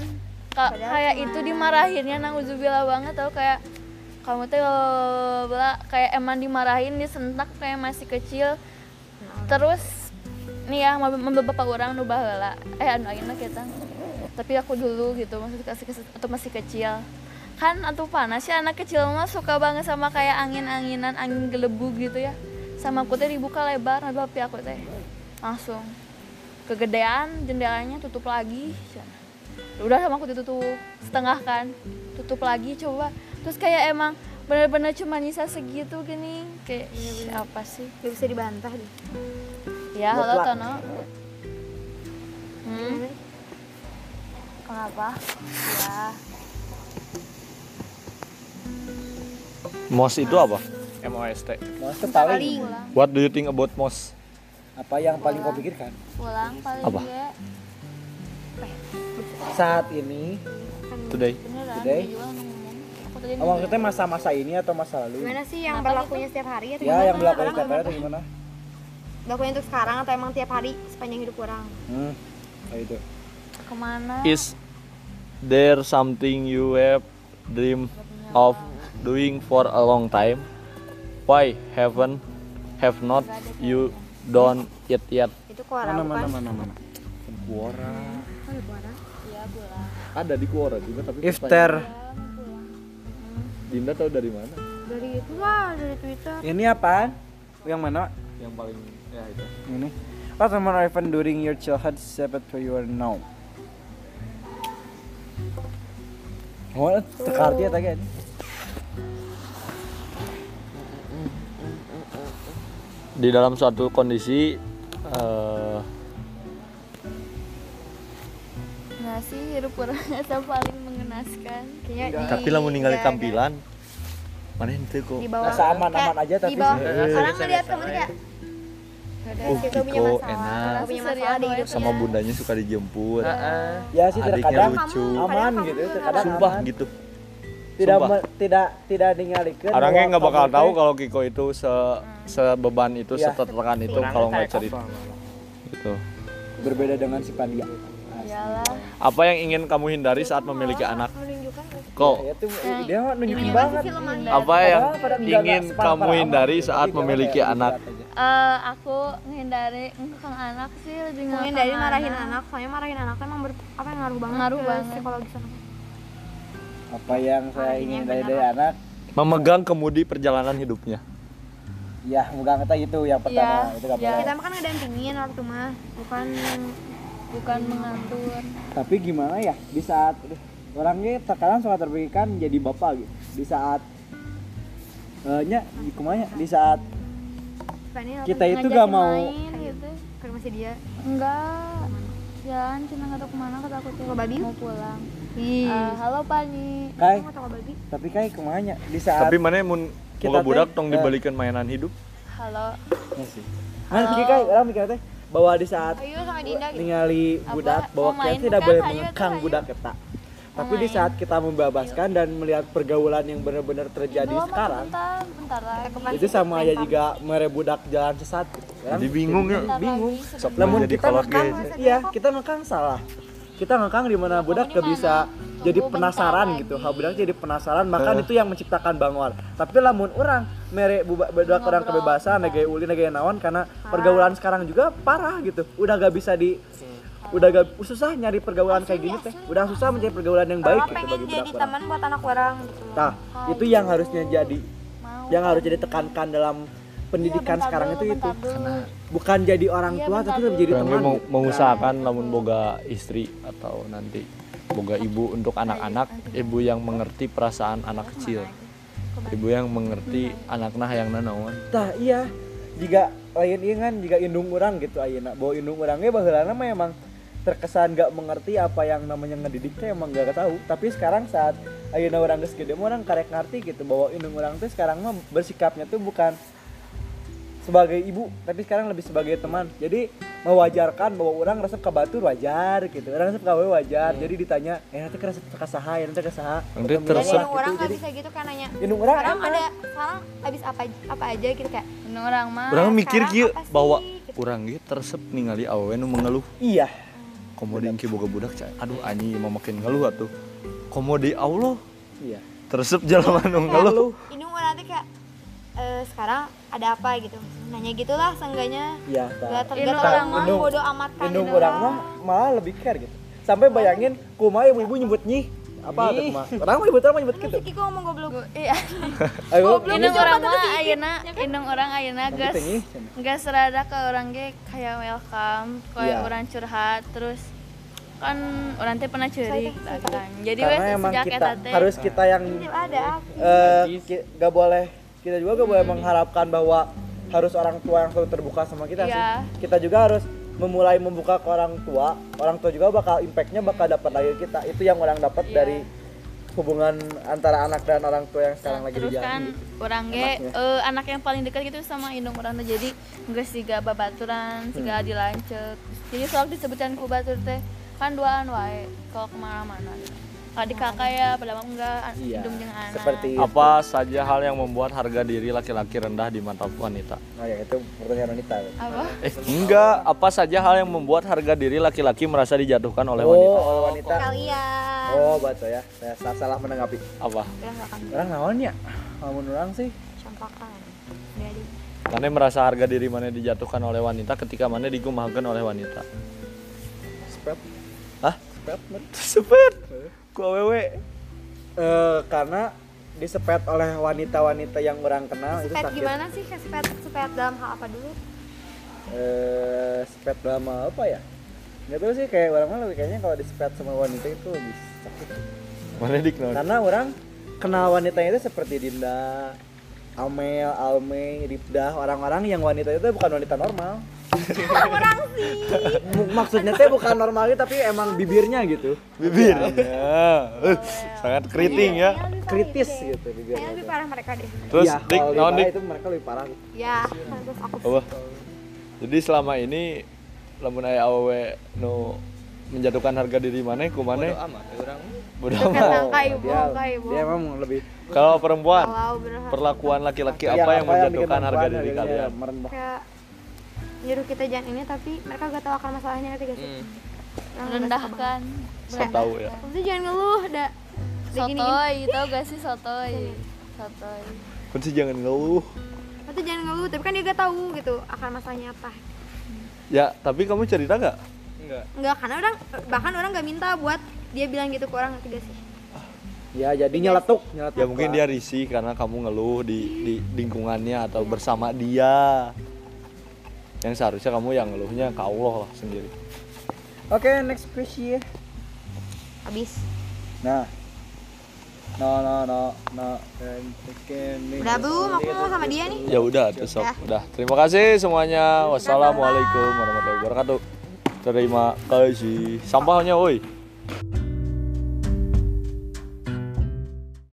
Speaker 4: Ka- kayak itu dimarahinnya nangguzubillah banget tau kayak kamu teh bla kayak emang dimarahin disentak kayak masih kecil. Terus nih ya mau beberapa orang nu baheula. Eh anu ayeuna kita. Tapi aku dulu gitu maksudnya kasih kasih- atau masih kecil. Kan atuh panas ya anak kecil mah suka banget sama kayak angin-anginan, angin gelebu gitu ya. Sama aku teh dibuka lebar, nah tapi aku teh langsung kegedean jendelanya tutup lagi udah sama aku ditutup setengah kan tutup lagi coba terus kayak emang bener-bener cuma nyisa segitu gini kayak "Ih, apa sih
Speaker 5: Gak bisa dibantah deh.
Speaker 4: ya halo
Speaker 2: Mutlak.
Speaker 4: Tono hmm? kenapa ya
Speaker 1: mos itu apa MOST
Speaker 2: Mas paling
Speaker 1: what do you think about mos
Speaker 2: apa yang paling kau pikirkan
Speaker 4: pulang paling
Speaker 1: Apa?
Speaker 4: ya
Speaker 2: saat ini
Speaker 1: today
Speaker 4: beneran
Speaker 2: Today?
Speaker 4: dia juga ngomong aku
Speaker 8: dibetulin
Speaker 2: Awal kita oh, masa-masa ini atau masa lalu?
Speaker 5: Gimana sih yang berlakunya setiap hari atau
Speaker 2: Ya, yang
Speaker 5: gimana?
Speaker 2: berlaku setiap hari atau gimana?
Speaker 5: Berlakunya untuk sekarang atau emang tiap hari sepanjang hidup orang?
Speaker 2: Hmm, kayak itu.
Speaker 4: kemana
Speaker 1: Is there something you have dream of doing for a long time? Why haven't have not you done it yet?
Speaker 5: Itu Quora bukan?
Speaker 2: Mana mana.
Speaker 1: Ada di Quora juga tapi
Speaker 2: Iftar.
Speaker 1: Dinda tahu dari mana?
Speaker 5: Dari itu lah, dari Twitter.
Speaker 2: Ini apaan? Yang mana?
Speaker 1: Yang paling ya itu.
Speaker 2: Ini. What memory event during your childhood shaped who you are now? Oh, tekarti ya tadi.
Speaker 1: Di dalam suatu kondisi eh,
Speaker 4: nah sih hidup orang itu paling mengenaskan
Speaker 5: Kayaknya di,
Speaker 1: tapi lamun ningali
Speaker 5: di-
Speaker 1: tampilan mana itu kok
Speaker 5: Di bawah.
Speaker 2: Rasa aman-aman
Speaker 5: Oh, kayak
Speaker 2: aja tapi
Speaker 5: di bawah.
Speaker 1: Iya,
Speaker 2: sih.
Speaker 5: Orang ngeliat kamu kayak
Speaker 1: oh
Speaker 5: Kayak gak punya
Speaker 1: Kiko
Speaker 5: masalah.
Speaker 1: enak
Speaker 5: Gak punya masalah di hidup.
Speaker 1: sama bundanya suka dijemput
Speaker 6: Heeh.
Speaker 2: ya sih
Speaker 1: adiknya
Speaker 2: terkadang
Speaker 1: lucu
Speaker 2: aman gitu, terkadang
Speaker 1: sumpah
Speaker 2: aman.
Speaker 1: gitu
Speaker 2: tidak
Speaker 1: Sumpah.
Speaker 2: me- tidak tidak dingalikeun.
Speaker 1: orangnya
Speaker 2: bahwa
Speaker 1: nggak bakal
Speaker 2: kamu
Speaker 1: tahu
Speaker 2: teh-
Speaker 1: kalau Kiko itu se sebeban itu
Speaker 2: Iya.
Speaker 1: setertekan itu kalau nggak cerita gitu
Speaker 2: berbeda dengan si Nah, Pandia.
Speaker 1: apa yang ingin kamu hindari saat memiliki anak
Speaker 2: Ya
Speaker 5: Iya.
Speaker 1: kok
Speaker 2: itu dia mah nunjukin banget.
Speaker 1: Oh.
Speaker 2: Iya.
Speaker 1: apa yang
Speaker 2: Padahal pada enggak-
Speaker 1: ingin
Speaker 2: enggak separah-parah
Speaker 1: kamu
Speaker 2: amat
Speaker 1: hindari
Speaker 2: gitu,
Speaker 1: saat
Speaker 2: tapi dia mah
Speaker 1: memiliki
Speaker 2: kayak
Speaker 1: anak
Speaker 2: gitu aja.
Speaker 4: Eh, aku menghindari ngekang anak sih lebih
Speaker 5: Mungkin
Speaker 4: ngekang
Speaker 5: dari marahin anak, soalnya marahin anak tuh emang ber, apa yang ngaruh banget
Speaker 4: Ngaruh
Speaker 5: ke
Speaker 4: banget.
Speaker 5: psikologis anak.
Speaker 2: Apa yang saya ingin dari dari anak?
Speaker 1: memegang kemudi perjalanan hidupnya
Speaker 2: Ya, moga kita gitu yang pertama.
Speaker 4: Iya,
Speaker 2: Itu nggak
Speaker 4: iya.
Speaker 2: apa-apa.
Speaker 5: Kita mah kan ngedampingin waktu mah, bukan
Speaker 4: bukan mengatur
Speaker 2: tapi gimana ya di saat aduh, orangnya terkadang suka terpikirkan jadi bapak gitu di saat eh, nya di kumanya di saat
Speaker 5: bukan ini
Speaker 2: kita itu gak mau
Speaker 4: main gitu
Speaker 5: ke masih dia.
Speaker 4: enggak jalan cina nggak tahu kemana kata aku tuh
Speaker 5: Ke babi?
Speaker 4: mau pulang
Speaker 5: Ih,
Speaker 4: Eh, halo pani
Speaker 2: kai
Speaker 5: mau tau babi?
Speaker 2: tapi kai kumanya di saat
Speaker 1: tapi mana mun
Speaker 2: Kita
Speaker 1: boga
Speaker 2: teh,
Speaker 1: budak tong
Speaker 2: eh,
Speaker 1: dibalikan mainan hidup
Speaker 4: halo
Speaker 2: Ya sih nah kira kai orang mikir teh bahwa di saat
Speaker 5: Ayo sama Dinda gitu.
Speaker 2: ningali
Speaker 4: Apa?
Speaker 2: budak
Speaker 4: Mau
Speaker 2: bahwa
Speaker 4: main
Speaker 2: kita tidak
Speaker 4: bukan?
Speaker 2: boleh
Speaker 4: Ayo,
Speaker 2: mengekang
Speaker 4: ayo.
Speaker 2: budak kita tapi di
Speaker 4: main.
Speaker 2: saat kita membebaskan dan melihat pergaulan yang benar-benar terjadi
Speaker 4: Belum, aku
Speaker 2: sekarang
Speaker 4: bentar bentar lagi
Speaker 2: itu sama aja juga merebudak jalan sesat gitu. Orang
Speaker 1: jadi bingung ya
Speaker 4: Bentar
Speaker 2: bingung.
Speaker 4: lagi,
Speaker 1: Sok
Speaker 2: Namun
Speaker 1: jadi
Speaker 2: kita
Speaker 1: kolot
Speaker 2: ngekang,
Speaker 1: ge.
Speaker 2: iya kita ngekang salah. Kita ngekang di mana budak gak bisa jadi penasaran gitu. Ha budak jadi penasaran, maka itu yang menciptakan bangwar. Tapi lamun orang mere buba- budak orang kebebasan, nege ulin nege naon karena pergaulan sekarang juga parah gitu. Udah gak bisa di
Speaker 5: Iya.
Speaker 2: udah gak susah nyari pergaulan kayak gini teh. Udah susah mencari pergaulan yang baik
Speaker 5: Orang
Speaker 2: gitu
Speaker 5: pengen
Speaker 2: bagi
Speaker 5: jadi
Speaker 2: budak orang.
Speaker 5: teman buat anak orang gitu.
Speaker 2: Nah, itu yang harusnya jadi yang harus jadi tekankan dalam pendidikan sekarang itu itu bukan jadi orang tua tapi lebih jadi
Speaker 1: Kurang
Speaker 2: teman
Speaker 1: lebih mau,
Speaker 2: gitu.
Speaker 1: mengusahakan lamun boga istri atau nanti boga ibu untuk anak-anak, ibu yang mengerti perasaan anak kecil. Ibu yang mengerti anaknya yang nanaon.
Speaker 2: Tah iya, jika lain iya kan jika indung orang gitu ayeuna bahwa indung orangnya baheulana mah emang terkesan gak mengerti apa yang namanya ngedidiknya emang gak tahu tapi sekarang saat ayeuna orang geus gede mah orang karek ngerti gitu bahwa indung orang tuh sekarang mah bersikapnya tuh bukan sebagai ibu tapi sekarang lebih sebagai teman jadi mewajarkan bahwa orang resep ke batur wajar gitu orang resep ke batur wajar jadi ditanya eh nanti resep ke saha ya nanti ke saha
Speaker 1: Nanti
Speaker 2: Ketemu
Speaker 5: Jadi
Speaker 1: Resep.
Speaker 5: orang orang
Speaker 2: gitu.
Speaker 5: nggak
Speaker 2: Jadi,
Speaker 5: bisa gitu kan nanya.
Speaker 2: indung orang
Speaker 5: Orang
Speaker 2: emang.
Speaker 5: ada sekarang habis apa apa aja gitu kayak.
Speaker 4: Ini orang mah
Speaker 1: Orang mikir
Speaker 5: sekarang
Speaker 1: kieu
Speaker 5: apa sih?
Speaker 1: bahwa urang ge tersep ningali awewe nu mengeluh.
Speaker 2: iya
Speaker 1: Komodi engke boga budak cai. Aduh anjing mah makin ngeluh atuh. Komodi Allah
Speaker 2: iya
Speaker 1: tersep jelema nu ngeluh.
Speaker 5: Ini orang nanti kayak eh, sekarang ada apa gitu. Nanya gitulah seenggaknya.
Speaker 2: iya Tah.
Speaker 5: Gak ter-
Speaker 4: Ini
Speaker 5: gak terlalu
Speaker 4: orang
Speaker 5: mah
Speaker 2: Indung-
Speaker 5: bodo amat kan.
Speaker 2: Indung
Speaker 5: gitu.
Speaker 2: orang mah malah lebih care gitu. Sampai bayangin kumaha ibu-ibu nyebut nyih apa tuh kumaha. Orang mah nyebut orang mah nyebut gitu.
Speaker 5: Si Kiko ngomong goblok.
Speaker 4: iya
Speaker 2: Ayo.
Speaker 4: Indung orang Ya kan? mah ayeuna, indung orang ayeuna
Speaker 2: Tapi
Speaker 4: geus
Speaker 2: tengih.
Speaker 4: geus rada ke orang ge kayak welcome, kayak
Speaker 2: Iya.
Speaker 4: orang curhat terus kan orang teh pernah curi kan. Jadi wes
Speaker 2: Karena emang
Speaker 4: sejak
Speaker 2: kita
Speaker 4: eta teh
Speaker 2: harus kita yang
Speaker 5: Ada
Speaker 2: eh, ki- gak boleh kita juga gak boleh
Speaker 4: Hmm.
Speaker 2: mengharapkan bahwa harus orang tua yang selalu terbuka sama kita sih.
Speaker 4: Iya.
Speaker 2: Kita juga harus memulai membuka ke orang tua. Orang tua juga bakal impactnya bakal dapat dari kita. Itu yang orang
Speaker 4: Iya.
Speaker 2: dapat dari hubungan antara anak dan orang tua yang sekarang lagi
Speaker 4: terus kan
Speaker 2: dijalani.
Speaker 4: orang ge eh, anak yang paling dekat gitu sama indung orang teh jadi geus siga babaturan,
Speaker 2: Hmm.
Speaker 4: siga dilanceuk. Jadi sok disebutkan ku batur teh kan duaan wae kalau kemana mana kalau di kakak ya padahal mah enggak an-
Speaker 2: Iya,
Speaker 4: hidung jeung anak
Speaker 2: seperti itu.
Speaker 1: Apa saja hal yang membuat harga diri laki-laki rendah di mata wanita?
Speaker 2: Oh ya itu pertanyaan wanita.
Speaker 4: apa
Speaker 1: Eh, enggak. Apa saja hal yang membuat harga diri laki-laki merasa dijatuhkan oleh wanita?
Speaker 2: Oh, wanita.
Speaker 5: kalian
Speaker 2: Oh, baca ya. Saya sa- salah menanggapi.
Speaker 1: Apa?
Speaker 2: Orang naon ya? Lamun orang sih.
Speaker 5: campakan dari
Speaker 1: Mana merasa harga diri mana dijatuhkan oleh wanita ketika mana digumahkan oleh wanita?
Speaker 2: Sebab
Speaker 1: Hah?
Speaker 2: sebab men.
Speaker 1: Sepet. Ku awewe.
Speaker 2: Eh, karena disepet oleh wanita-wanita yang orang kenal itu
Speaker 5: sepet
Speaker 2: sakit. Iya,
Speaker 5: gimana sih sepet sepet dalam hal apa dulu
Speaker 2: Eh, sepet lama apa ya? Nggak tahu sih kayak orang mah lebih kayaknya kalau disepet sama wanita itu lebih sakit.
Speaker 1: Mana dik naon?
Speaker 2: Karena orang kenal wanitanya itu seperti Dinda, Amel, Alme, Ripdah, orang-orang yang wanitanya itu bukan wanita normal.
Speaker 5: orang sih
Speaker 2: M- Maksudnya teh bukan normal gitu, tapi emang bibirnya gitu. ya.
Speaker 1: Bibirnya. Eh, Sangat keriting ya.
Speaker 5: Kayaknya lebih parah
Speaker 2: Kritis
Speaker 5: itu deh.
Speaker 2: gitu
Speaker 5: kayaknya
Speaker 2: bibirnya.
Speaker 5: lebih parah mereka deh
Speaker 1: Terus
Speaker 2: Iya,
Speaker 1: dik
Speaker 2: kalau lebih
Speaker 1: naon
Speaker 2: parah
Speaker 1: dik?
Speaker 2: itu mereka lebih parah.
Speaker 5: ya terus aku
Speaker 1: Apa? Jadi selama ini lamun aya awewe nu menjatuhkan harga diri mana
Speaker 6: Bodo
Speaker 1: kumane
Speaker 6: amat ya orang.
Speaker 1: bodoh amat.
Speaker 4: Karena kayu
Speaker 2: dia,
Speaker 4: kayu
Speaker 2: dia emang lebih
Speaker 1: Kalau perempuan,
Speaker 5: kalau berharap
Speaker 1: perlakuan laki-laki
Speaker 2: Iya,
Speaker 1: apa yang
Speaker 2: bikin
Speaker 1: menjatuhkan harga
Speaker 2: perempuan
Speaker 1: diri
Speaker 2: akhirnya
Speaker 1: kalian?
Speaker 2: merendah.
Speaker 5: kayak nyuruh kita jangan ini tapi mereka gak tahu akar masalahnya ngerti gak sih Orang
Speaker 6: Hmm.
Speaker 5: gak suka banget.
Speaker 4: merendahkan
Speaker 1: Sok tahu ya.
Speaker 5: Maksudnya jangan ngeluh dah gini
Speaker 4: sotoy tau gak sih sotoy sotoy
Speaker 1: Kunci jangan ngeluh.
Speaker 5: Maksudnya jangan ngeluh tapi kan dia gak tahu gitu akar masalahnya apa
Speaker 1: Ya, tapi kamu cerita nggak?
Speaker 6: Enggak.
Speaker 5: enggak karena orang bahkan orang gak minta buat dia bilang gitu ke orang ngerti gak sih
Speaker 2: Ya, jadi nyeletuk, nyeletuk.
Speaker 1: Ya mungkin dia risih karena kamu ngeluh di, di lingkungannya atau bersama dia. Yang seharusnya kamu yang ngeluhnya ke Allah lah sendiri.
Speaker 2: Oke, next question.
Speaker 5: habis
Speaker 2: Nah. No, no, no, no. And again,
Speaker 5: udah belum aku ngomong sama dia nih
Speaker 1: Ya udah, itu sok. Udah. Terima kasih semuanya. Wassalamualaikum warahmatullahi wabarakatuh. Terima kasih. Sampahnya, woi.